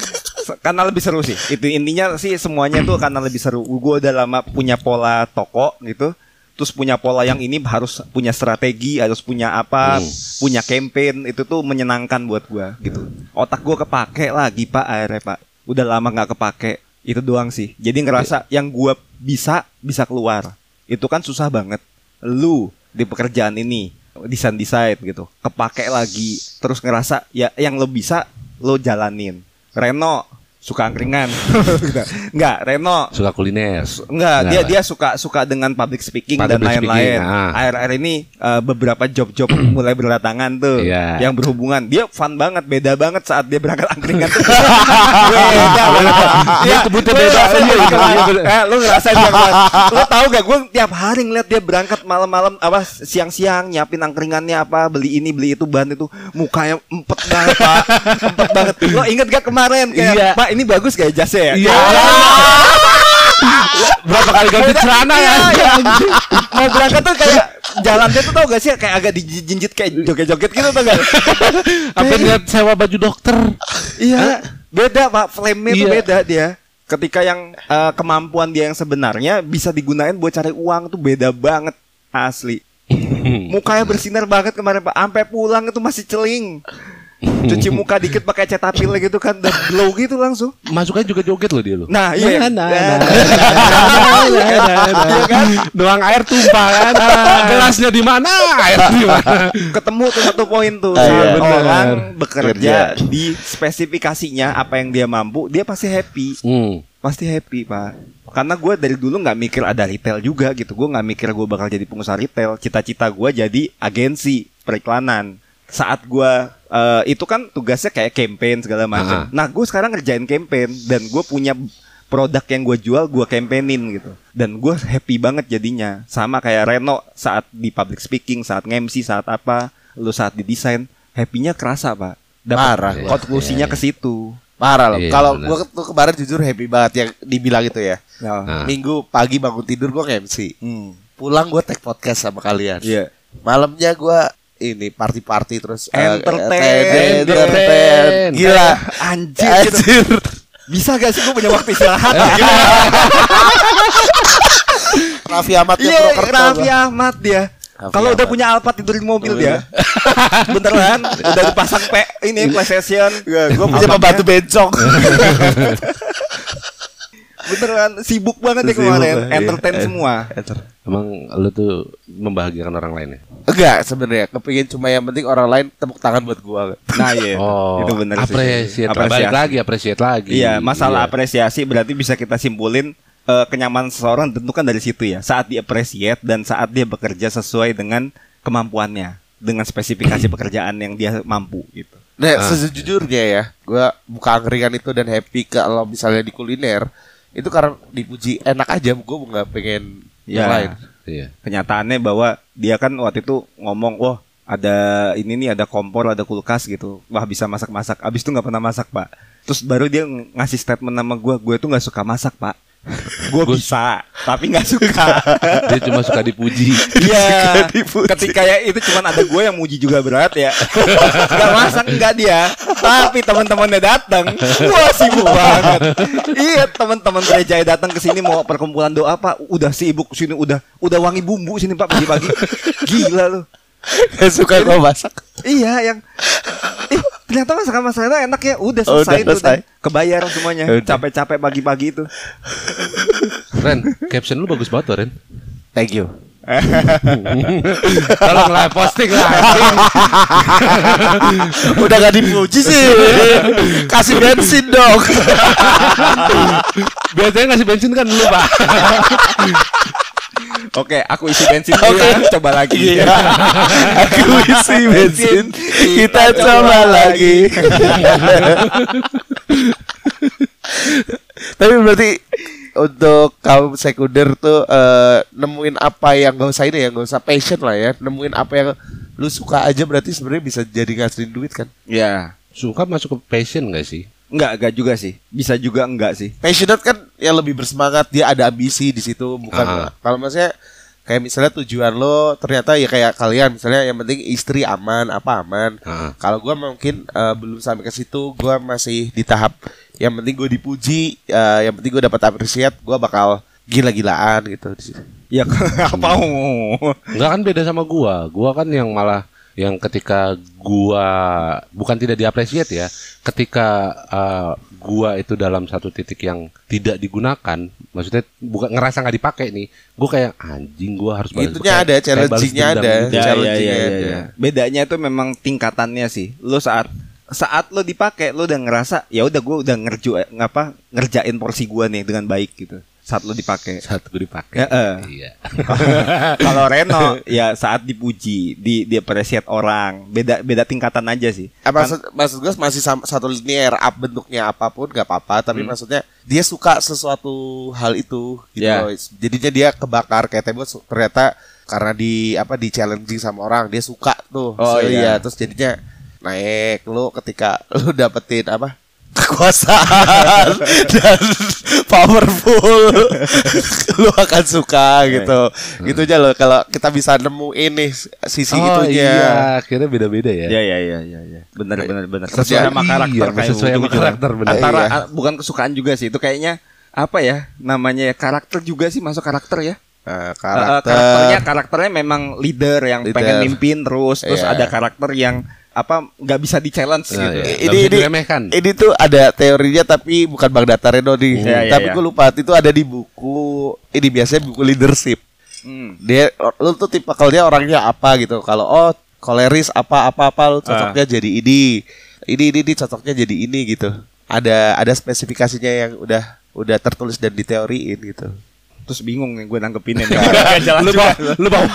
S1: Se- karena lebih seru sih itu intinya sih semuanya tuh karena lebih seru gue udah lama punya pola toko gitu terus punya pola yang ini harus punya strategi harus punya apa punya campaign itu tuh menyenangkan buat gue gitu otak gue kepake lagi pak akhirnya pak udah lama nggak kepake itu doang sih jadi ngerasa yang gue bisa bisa keluar itu kan susah banget lu di pekerjaan ini desain desain gitu kepake lagi terus ngerasa ya yang lo bisa lo jalanin Reno suka angkringan Gitu. nggak Reno
S2: Suka kuliner. Nah.
S1: Enggak, dia dia suka suka dengan public speaking dan
S2: Public
S1: lain-lain.
S2: speaking, ah.
S1: Akhir-akhir ini eh, beberapa job-job mulai berdatangan tuh
S2: Iya.
S1: yang berhubungan. Dia fun banget, beda banget saat dia berangkat angkringan tuh. beda banget.
S2: Dia butuh beda. Iya, iya, iya, bener.
S1: Eh, lu ngerasain gak Mas? Lu tahu gak gue tiap hari ngeliat dia berangkat malam-malam apa siang-siang nyiapin angkringannya apa beli ini beli itu ban itu mukanya empet banget, Pak. Empet banget. Lo inget gak kemarin kayak,
S2: Iya.
S1: Pak, ini bagus gak jasnya ya?
S2: Berapa kali ganti celana ya?
S1: Iya, mau berangkat tuh kayak jalan dia tuh tau gak sih kayak agak dijinjit kayak joget-joget gitu tau gak?
S2: Apa lihat sewa baju dokter?
S1: iya, beda pak, flame-nya tuh
S2: Iya.
S1: beda dia. Ketika yang eh, kemampuan dia yang sebenarnya bisa digunain buat cari uang tuh beda banget asli. Mukanya bersinar banget kemarin pak, sampai pulang itu masih celing. cuci muka dikit pakai cetapil gitu kan dan glow gitu langsung
S2: Masuknya juga joget loh dia loh.
S1: nah iya kan?
S2: Nah, nah, nah, nah, nah, nah. Doang air tumpah kan. Ah, Gelasnya di mana? Air di mana?
S1: ketemu tuh satu poin tuh
S3: Ah, iya.
S1: Saat orang
S2: Bener.
S1: bekerja di spesifikasinya apa yang dia mampu dia pasti happy
S2: Hmm.
S1: pasti happy pak karena gue dari dulu nggak mikir ada retail juga gitu gue nggak mikir gue bakal jadi pengusaha retail cita-cita gue jadi agensi periklanan saat gue eh, itu kan tugasnya kayak campaign segala macam
S2: Aha.
S1: nah gue sekarang ngerjain campaign dan gue punya produk yang gue jual gue campaignin gitu dan gue happy banget jadinya sama kayak Reno saat di public speaking saat MC saat apa lu saat didesain happynya kerasa pak
S3: Parah,
S1: Dapat
S3: Pak.
S1: konklusinya ke situ
S3: Parah loh.
S2: Iya,
S3: Kalau
S2: benar.
S3: gua tuh kemarin jujur happy banget yang dibilang itu ya.
S1: Nah,
S2: Nah.
S3: Minggu pagi bangun tidur gua nge-MC.
S1: hmm,
S3: Pulang gua take podcast sama kalian.
S1: iya
S3: Malamnya gua ini party-party terus eh,
S1: Entertain.
S3: entertain, entertain.
S2: Entertain.
S3: Gila.
S1: Anjir, gitu.
S3: Anjir. Iya,
S1: Bisa gak sih gue punya waktu istirahat ya?
S3: Raffi Ahmad yang
S1: Iya,
S3: broker tau
S1: Raffi
S3: gua.
S1: Ahmad dia
S3: Raffi
S1: Kalau udah
S3: Ahmad.
S1: punya Alphard tidur di mobil
S3: Oh,
S1: dia Beneran Udah dipasang P Ini PlayStation
S3: Iya. Gua punya pembantu bencong.
S1: Beneran Sibuk banget ya
S3: Sibuk
S1: kemarin
S3: banget, iya.
S1: Entertain semua
S2: Emang lu tuh membahagiakan orang lain ya?
S3: Enggak sebenarnya, kepingin cuma yang penting orang lain tepuk tangan buat gua.
S1: Nah iya
S3: Oh,
S1: Itu bener sih
S2: Oh, apresiat, balik lagi, apresiat lagi.
S1: Iya masalah apresiasi Berarti bisa kita simpulin eh, Kenyamanan seseorang tentukan dari situ ya Saat dia appreciate Dan saat dia bekerja sesuai dengan Kemampuannya Dengan spesifikasi pekerjaan yang dia mampu gitu
S3: Nah, sejujurnya ya, gua buka angkringan itu dan happy kalau misalnya di kuliner itu karena dipuji enak aja, gua nggak pengen
S1: Ya.
S3: yang lain.
S2: Iya.
S1: kenyataannya bahwa dia kan waktu itu ngomong wah ada ini nih ada kompor ada kulkas gitu wah bisa masak masak abis itu nggak pernah masak pak terus baru dia ng- ngasih statement nama gue gue tuh nggak suka masak pak gue bisa tapi nggak suka
S2: Dia cuma suka dipuji.
S1: Iya, ketika ya itu cuman ada gue yang muji juga berat ya. Gak masak enggak dia, tapi teman-temannya datang, wah sibuk banget. Iya, teman-teman gereja datang ke sini mau perkumpulan doa Pak, udah sibuk sini udah udah wangi bumbu sini Pak pagi-pagi. Gila lu.
S3: Gak suka gua masak.
S1: Iya, yang Ih, ternyata masakan masakannya enak ya. Udah selesai
S3: Oh, Udah
S1: itu
S3: selesai.
S1: udah. kebayar semuanya.
S3: Udah.
S1: Capek-capek pagi-pagi itu.
S2: Ren, caption lu bagus banget tuh, Ren.
S3: Thank you.
S2: Tolong lah posting lah. anjing.
S3: Udah gak dipuji sih. Kasih bensin dong.
S2: Biasanya ngasih bensin kan lu, Pak.
S1: Oke, aku isi bensin dulu ya. Coba lagi.
S3: Iya. Aku isi bensin. Kita coba lagi. Tapi berarti untuk kaum sekunder tuh eh, nemuin apa yang gak usah ini ya, gak usah passion lah ya. Nemuin apa yang lu suka aja berarti sebenarnya bisa jadi ngasilin duit kan.
S1: Ya.
S2: Suka masuk ke passion gak sih?
S1: Enggak, enggak juga sih. Bisa juga enggak sih.
S3: Passionate kan yang lebih bersemangat, dia ada ambisi di situ bukan
S2: Ah.
S3: kalau maksudnya kayak misalnya tujuan lo ternyata ya kayak kalian misalnya yang penting istri aman apa aman
S2: Ah.
S3: Kalau gua mungkin eh, belum sampai ke situ, gua masih di tahap yang penting gue dipuji, eh, yang penting gue dapat appreciate, gua bakal gila-gilaan gitu di situ.
S1: Ya apa mau?
S2: Enggak kan beda sama gua. Gua kan yang malah yang ketika gua bukan tidak diapresiat ya, ketika eh, gua itu dalam satu titik yang tidak digunakan, maksudnya bukan ngerasa nggak dipakai nih. Gua kayak anjing gua harus balas
S3: Itunya
S2: kayak-
S3: ada,
S2: kayak balas
S3: challenge-nya
S2: dendam
S3: ada.
S2: gitu.
S1: Ya, ya,
S3: Challenging
S1: ya,
S3: ya,
S1: ya,
S3: ya.
S1: ya. Bedanya itu memang tingkatannya sih. Lo saat saat lo dipakai lo udah ngerasa ya udah gue udah ngerju ngapa ngerjain porsi gua nih dengan baik gitu. Saat lo dipakai.
S2: Satu gua dipakai.
S1: Ya, eh.
S2: Iya.
S1: Kalau Reno ya saat dipuji, di diapresiat orang. Beda beda tingkatan aja sih.
S3: Eh, maksud maksud gue masih sama, satu linear up bentuknya apapun gak apa-apa, tapi maksudnya dia suka sesuatu hal itu gitu.
S1: Ya.
S3: loh. Jadinya dia kebakar kayak tembok su- ternyata karena di apa di challenging sama orang, dia suka tuh.
S1: Oh,
S3: So,
S1: iya.
S3: terus jadinya naik lu ketika lu dapetin apa? kekuasaan dan powerful lu akan suka gitu gitu aja loh kalau kita bisa nemuin nih sisi
S2: oh
S3: itunya
S2: iya, akhirnya beda-beda ya.
S1: Ya ya ya ya ya. Benar benar benar.
S3: Sesuai
S1: Sesuai sama
S2: iya,
S1: karakter kayak gitu ya.
S2: sesuai sama
S1: ujung-ujungnya.
S2: karakter, benar.
S1: Antara
S3: Iya.
S1: a- bukan kesukaan juga sih itu kayaknya apa ya namanya ya karakter juga sih masuk karakter ya.
S3: Eh,
S1: Eh,
S3: karakter
S1: karakternya karakternya memang leader yang
S3: Leader.
S1: pengen mimpin terus terus
S3: Iya.
S1: ada karakter yang apa nggak bisa di challenge
S2: Nah,
S1: gitu.
S2: iya. Nggak
S3: ini
S2: bisa
S3: ini,
S2: diremehkan.
S3: ini tuh ada teorinya tapi bukan Bang Datareno nih.
S1: Iya, iya,
S3: tapi
S1: iya.
S3: gue lupa itu ada di buku ini biasanya buku leadership.
S1: Hmm.
S3: Dia lu tuh tipikalnya orangnya apa gitu. Kalau oh koleris apa apa apa lu cocoknya
S1: Ah.
S3: jadi ini. Ini ini ini cocoknya jadi ini gitu. Ada ada spesifikasinya yang udah udah tertulis dan diteoriin gitu.
S1: Terus bingung nih gue nanggepinnya.
S2: lu bawa, lu bawa,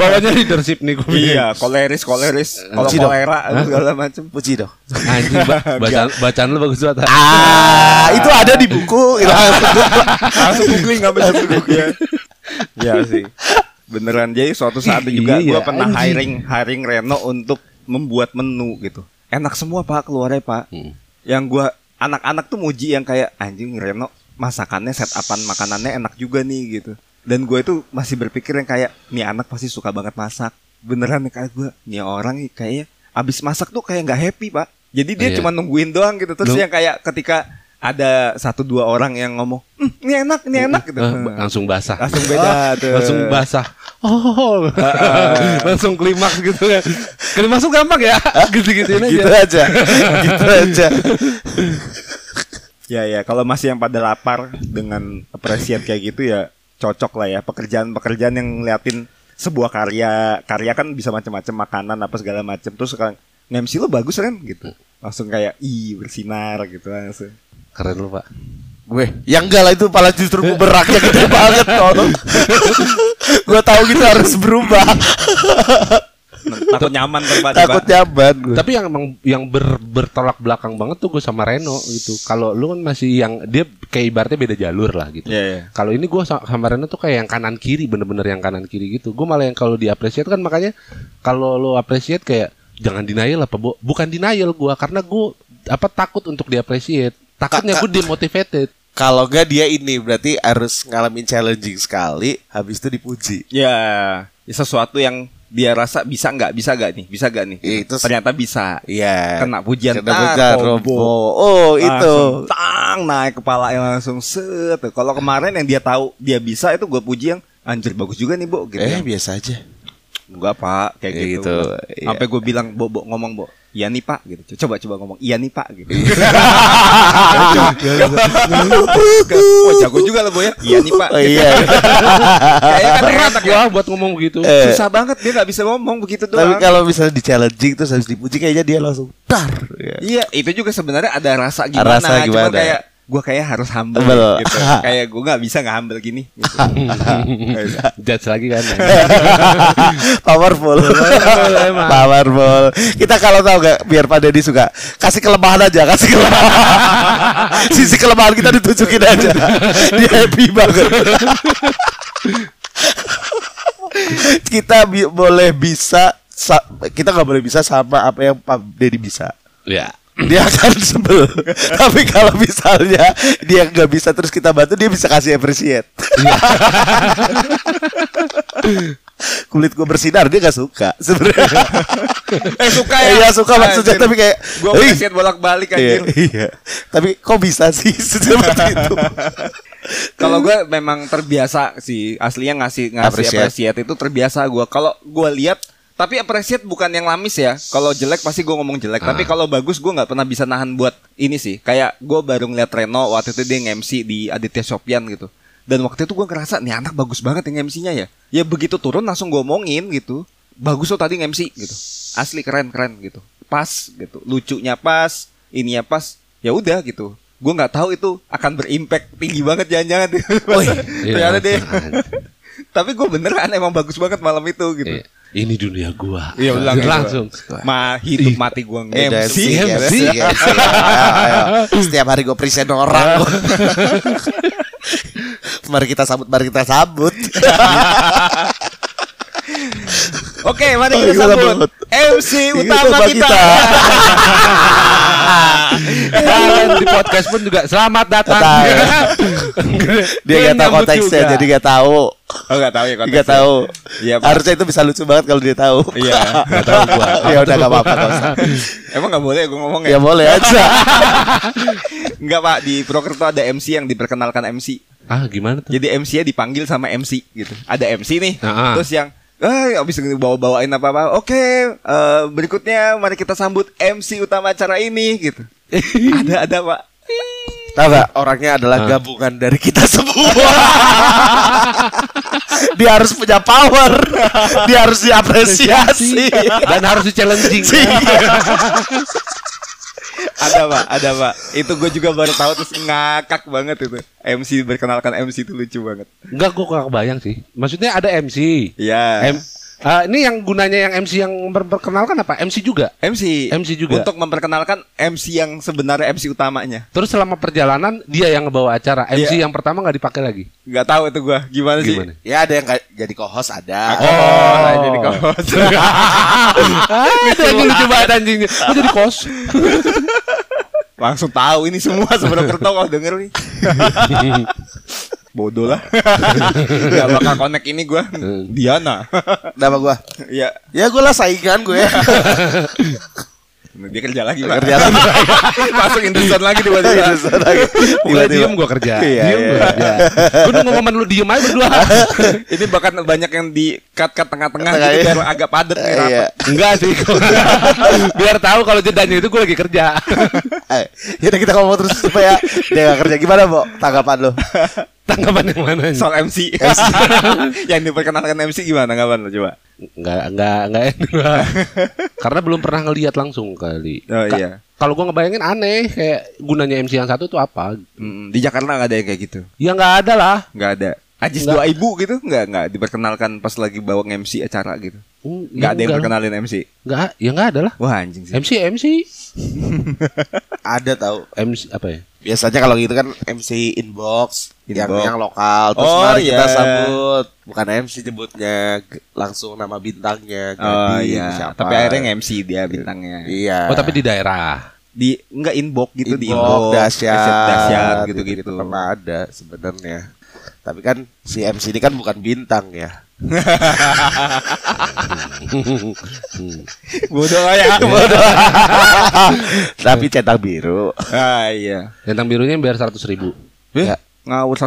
S2: bawanya leadership nih gue.
S1: iya, koleris, koleris, kalau
S3: Cino.
S1: kolera segala macam.
S3: Puji dong.
S2: Anjing, ba- bacaan, bacaan lu bagus banget.
S3: Ah, itu ada di buku.
S1: Langsung googling nggak bisa duduk ya. Iya sih. Beneran jadi suatu saat juga gue
S2: Iya,
S1: pernah
S2: anjing.
S1: hiring hiring Reno untuk membuat menu gitu. Enak semua Pak keluarnya Pak.
S2: Hmm.
S1: Yang gua anak-anak tuh muji yang kayak anjing Reno masakannya set upan makanannya enak juga nih gitu. Dan gue itu masih berpikir yang kayak nih anak pasti suka banget masak. Beneran nih kayak gue nih orang nih kayaknya abis masak tuh kayak nggak happy Pak. Jadi dia
S2: Iya.
S1: cuma nungguin doang gitu. Terus
S2: Lu-
S1: yang kayak ketika ada satu dua orang yang ngomong, "Hmm, ini enak, ini enak gitu.
S2: Ah, ba- langsung basah.
S1: Langsung beda tuh.
S2: Langsung basah. Oh, langsung klimaks gitu kan. Klimaks tuh gampang ya, gitu-gituin aja.
S3: gitu aja. gitu aja.
S1: Ya ya, kalau masih yang pada lapar dengan appreciate kayak gitu ya cocok lah ya pekerjaan-pekerjaan yang ngeliatin sebuah karya karya kan bisa macam-macam makanan apa segala macam terus sekarang MC lo bagus kan gitu langsung kayak i bersinar gitu langsung
S2: Keren lu, Pak.
S3: Gue yang enggak lah itu pala justru beraknya gede banget tolong. gue tahu kita harus berubah.
S1: takut nyaman kan pak
S3: Takut nyaman gue.
S2: Tapi yang emang yang ber- bertolak belakang banget tuh gue sama Reno gitu. Kalau lu kan masih yang dia kayak ibaratnya beda jalur lah gitu.
S1: Iya, iya.
S2: Kalau ini gue sa- sama Reno tuh kayak yang kanan kiri bener-bener yang kanan kiri gitu. Gue malah yang kalau di appreciate kan makanya kalau lo appreciate kayak jangan denial apa bu? Bukan denial gue karena gue apa takut untuk di appreciate. Takutnya gue demotivated.
S3: Kalau enggak dia ini berarti harus ngalamin challenging sekali habis itu dipuji.
S1: ya ya sesuatu yang dia rasa bisa nggak bisa nggak nih bisa nggak nih
S3: Iya, itu s-
S1: ternyata bisa
S3: Iya.
S1: Kena pujian.
S3: Kena
S1: Ah,
S3: pujian
S1: Robo. Ah,
S3: Robo. Oh, itu.
S1: Langsung tang naik kepala yang langsung set kalau kemarin yang dia tahu dia bisa itu gue puji yang anjir bagus juga nih bu gitu
S3: Eh,
S1: ya.
S3: biasa aja.
S1: Enggak pak Kayak
S3: Ya
S1: gitu,
S3: gitu, iya.
S1: Sampai gue bilang Bo, bo ngomong bo Iya nih pak gitu Coba coba ngomong Iya nih pak gitu Wah jago juga lo bo ya Iya nih pak
S3: Oh, iya.
S1: Kayaknya kan
S2: Berat
S1: enak ya
S2: gue buat ngomong gitu.
S3: Eh.
S1: Susah banget dia gak bisa ngomong begitu
S3: Tapi
S1: doang
S3: kalau misalnya di challenging terus harus dipuji kayaknya dia langsung tar. Ya.
S1: Iya itu juga sebenarnya ada rasa gimana Cuman
S3: Rasa gimana? ya?
S1: kayak Gue kayak harus humble
S3: Humble.
S1: gitu Kayak gue gak bisa gak humble gini gitu.
S2: Judge lagi kan.
S3: Powerful.
S2: emang.
S3: Powerful. Kita kalau tahu nggak biar Pak Deddy suka kasih kelemahan aja, kasih kelemahan. Sisi kelemahan kita ditunjukin aja. Dia happy banget. kita bi- boleh bisa sa- kita nggak boleh bisa sama apa yang Pak Deddy bisa.
S2: ya.
S3: Dia akan sebel. Tapi kalau misalnya dia nggak bisa terus kita bantu, dia bisa kasih appreciate. Kulit gue bersinar dia gak suka sebenarnya.
S1: Eh suka ya
S3: Iya suka maksudnya
S1: Anjir.
S3: tapi kayak
S1: Gue
S3: "Ih,
S1: kasihan bolak-balik
S3: iya,
S1: anjir
S3: iya. Tapi kok bisa sih seperti itu?
S1: Kalau gue memang terbiasa sih aslinya ngasih ngasih
S3: Appreciate.
S1: appreciate, itu terbiasa gue. Kalau gue lihat tapi appreciate bukan yang lamis ya. Kalau jelek pasti gue ngomong jelek. Tapi kalau bagus gue nggak pernah bisa nahan buat ini sih. Kayak gue baru ngeliat Reno waktu itu dia nge-MC di Aditya Sopian gitu. Dan waktu itu gue ngerasa nih anak bagus banget yang MC-nya ya. Ya begitu turun langsung gue omongin gitu. Bagus lo tadi nge-MC gitu. Asli keren keren gitu. Pas gitu. Lucunya pas, ininya pas. Ya udah gitu. Gue nggak tahu itu akan berimpact tinggi banget jangan-jangan. Ternyata dia tapi gue beneran emang bagus banget malam itu gitu.
S2: Iya. Ini dunia gua.
S1: Iya, ulang gitu.
S2: langsung.
S1: Ma hidup mati gue
S3: MC,
S1: MC.
S2: MC.
S3: MC, MC. Ayo, ayo. ya. Iya, Setiap hari gue present orang. mari kita sambut, mari kita sambut.
S1: Oke, mari
S3: Oh, Iya,
S1: kita
S3: kita
S1: sambut
S3: sambut.
S1: MC utama
S3: Utama
S1: kita.
S2: Kalian di podcast pun juga selamat datang. Iya.
S3: Dia gak tahu konteksnya, jadi gak tahu.
S1: Oh nggak tahu ya
S3: Gak
S1: konteksnya.
S3: tahu.
S1: Iya, Pak.
S3: Harusnya itu bisa lucu banget kalau dia tahu.
S1: Iya.
S2: Gak tahu gua.
S3: ya udah gak apa-apa. gak usah.
S1: Emang nggak boleh gue ngomong ya?
S3: Ya boleh aja.
S1: Nggak pak di Prokerto ada MC yang diperkenalkan MC. Iya
S2: Ah, gimana tuh?
S1: Jadi MC-nya dipanggil sama MC gitu. Ada MC nih.
S2: Ah, ah.
S1: Terus yang Ah, abis itu bawa-bawain apa-apa. Oke, eh, berikutnya mari kita sambut MC utama acara ini gitu. ada ada pak.
S3: Tahu gak orangnya adalah gabungan dari kita semua. dia harus punya power. dia harus diapresiasi.
S2: Iya dan harus di challenging
S1: Ada pak, ada pak. Itu gue juga baru tahu terus ngakak banget itu. MC berkenalkan MC itu lucu banget.
S2: Enggak, gue kurang kebayang sih. Maksudnya ada MC.
S1: Ya.
S2: M- Ah, ini yang gunanya yang MC yang memperkenalkan apa? MC juga.
S1: MC
S2: MC juga.
S1: untuk memperkenalkan MC yang sebenarnya MC utamanya.
S2: Terus selama perjalanan dia yang ngebawa acara. MC yang pertama nggak dipakai lagi.
S1: Gak tahu itu gue gimana,
S2: Gimana?
S1: sih.
S3: ya ada yang nggak jadi co-host ada.
S1: Oh, nah, jadi kaos.
S2: Itu yang lucu banget anjingnya. Oh, jadi kos.
S1: Langsung tahu ini semua sebelum Kerto kalau denger nih. Bodoh lah. Gak bakal connect ini gue. Diana.
S3: Nama gua.
S1: ya,
S3: Ya gue lah saingan gue.
S1: dia kerja lagi pak.
S3: Kerja lagi.
S1: Masuk Indonesia lagi
S3: Gitu,
S1: tiba-tiba.
S2: Udah diem gue kerja.
S3: Iya,
S2: Diem
S3: iya.
S2: gue kerja. Gue nunggu momen lu diem aja berdua.
S1: ini bahkan banyak yang di cut cut tengah-tengah
S3: Tengah,
S1: gitu
S3: iya.
S1: biar agak padat nih rapat.
S3: Iya.
S2: Enggak sih. gua. Biar tahu kalau jedanya itu gue lagi kerja.
S3: Eh, Ya udah kita ngomong terus supaya dia gak kerja gimana, Bo? Tanggapan lo?
S2: Tanggapan yang mana?
S1: Soal MC. yang diperkenalkan MC gimana kapan lo coba?
S2: Enggak, enggak, enggak enak. Karena belum pernah ngelihat langsung kali.
S1: Oh,
S2: Ka-
S1: iya.
S2: Kalau gua ngebayangin aneh kayak gunanya MC yang satu tuh apa?
S1: Mm, di Jakarta nggak ada yang kayak gitu.
S2: Ya nggak ada lah.
S1: Nggak ada. Ajis
S2: Nggak.
S1: dua ibu gitu nggak nggak diperkenalkan pas lagi bawa MC acara gitu.
S2: Hmm,
S1: Nggak ada yang
S2: enggak.
S1: perkenalin MC.
S2: Enggak, ya enggak ada lah.
S1: Wah anjing sih.
S2: MC MC
S3: Ada tahu.
S2: MC apa ya?
S3: Biasanya kalau gitu kan MC inbox, yang
S1: Inbox.
S3: yang lokal terus
S1: Oh,
S3: mari kita
S1: iya.
S3: sambut bukan MC nyebutnya g- langsung nama bintangnya
S1: Oh
S3: Gading,
S1: iya.
S3: siapa.
S1: Tapi akhirnya MC dia bintangnya.
S3: iya
S2: Oh, tapi di daerah.
S1: Di nggak inbox gitu di
S3: inbox dahsyat
S1: dahsyat Gitu, gitu-gitu.
S3: pernah ada sebenarnya tapi kan si MC ini kan bukan bintang ya
S1: Bodoh lah ya.
S3: tapi
S1: Iya.
S3: cetak biru
S1: Ah iya.
S2: Tentang birunya biar 100 ribu.
S1: Eh,
S3: Ya.
S1: ngawur 140.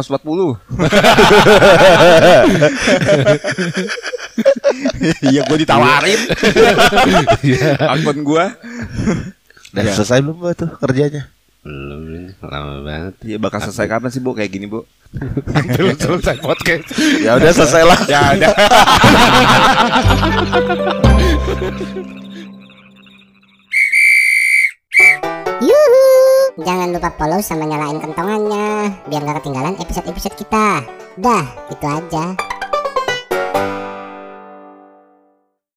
S1: Iya gue ditawarin Iya. akun gue
S3: dan
S1: Ya.
S3: selesai belum Bo, tuh kerjanya
S2: Belum ini, lama banget.
S1: Ya bakal selesai kapan sih bu kayak gini bu
S2: Belum selesai podcast.
S3: ya udah selesai lah
S1: Ya ada
S4: Yuhu! Jangan lupa follow sama nyalain kentongannya biar gak ketinggalan episode-episode kita. Dah, itu aja.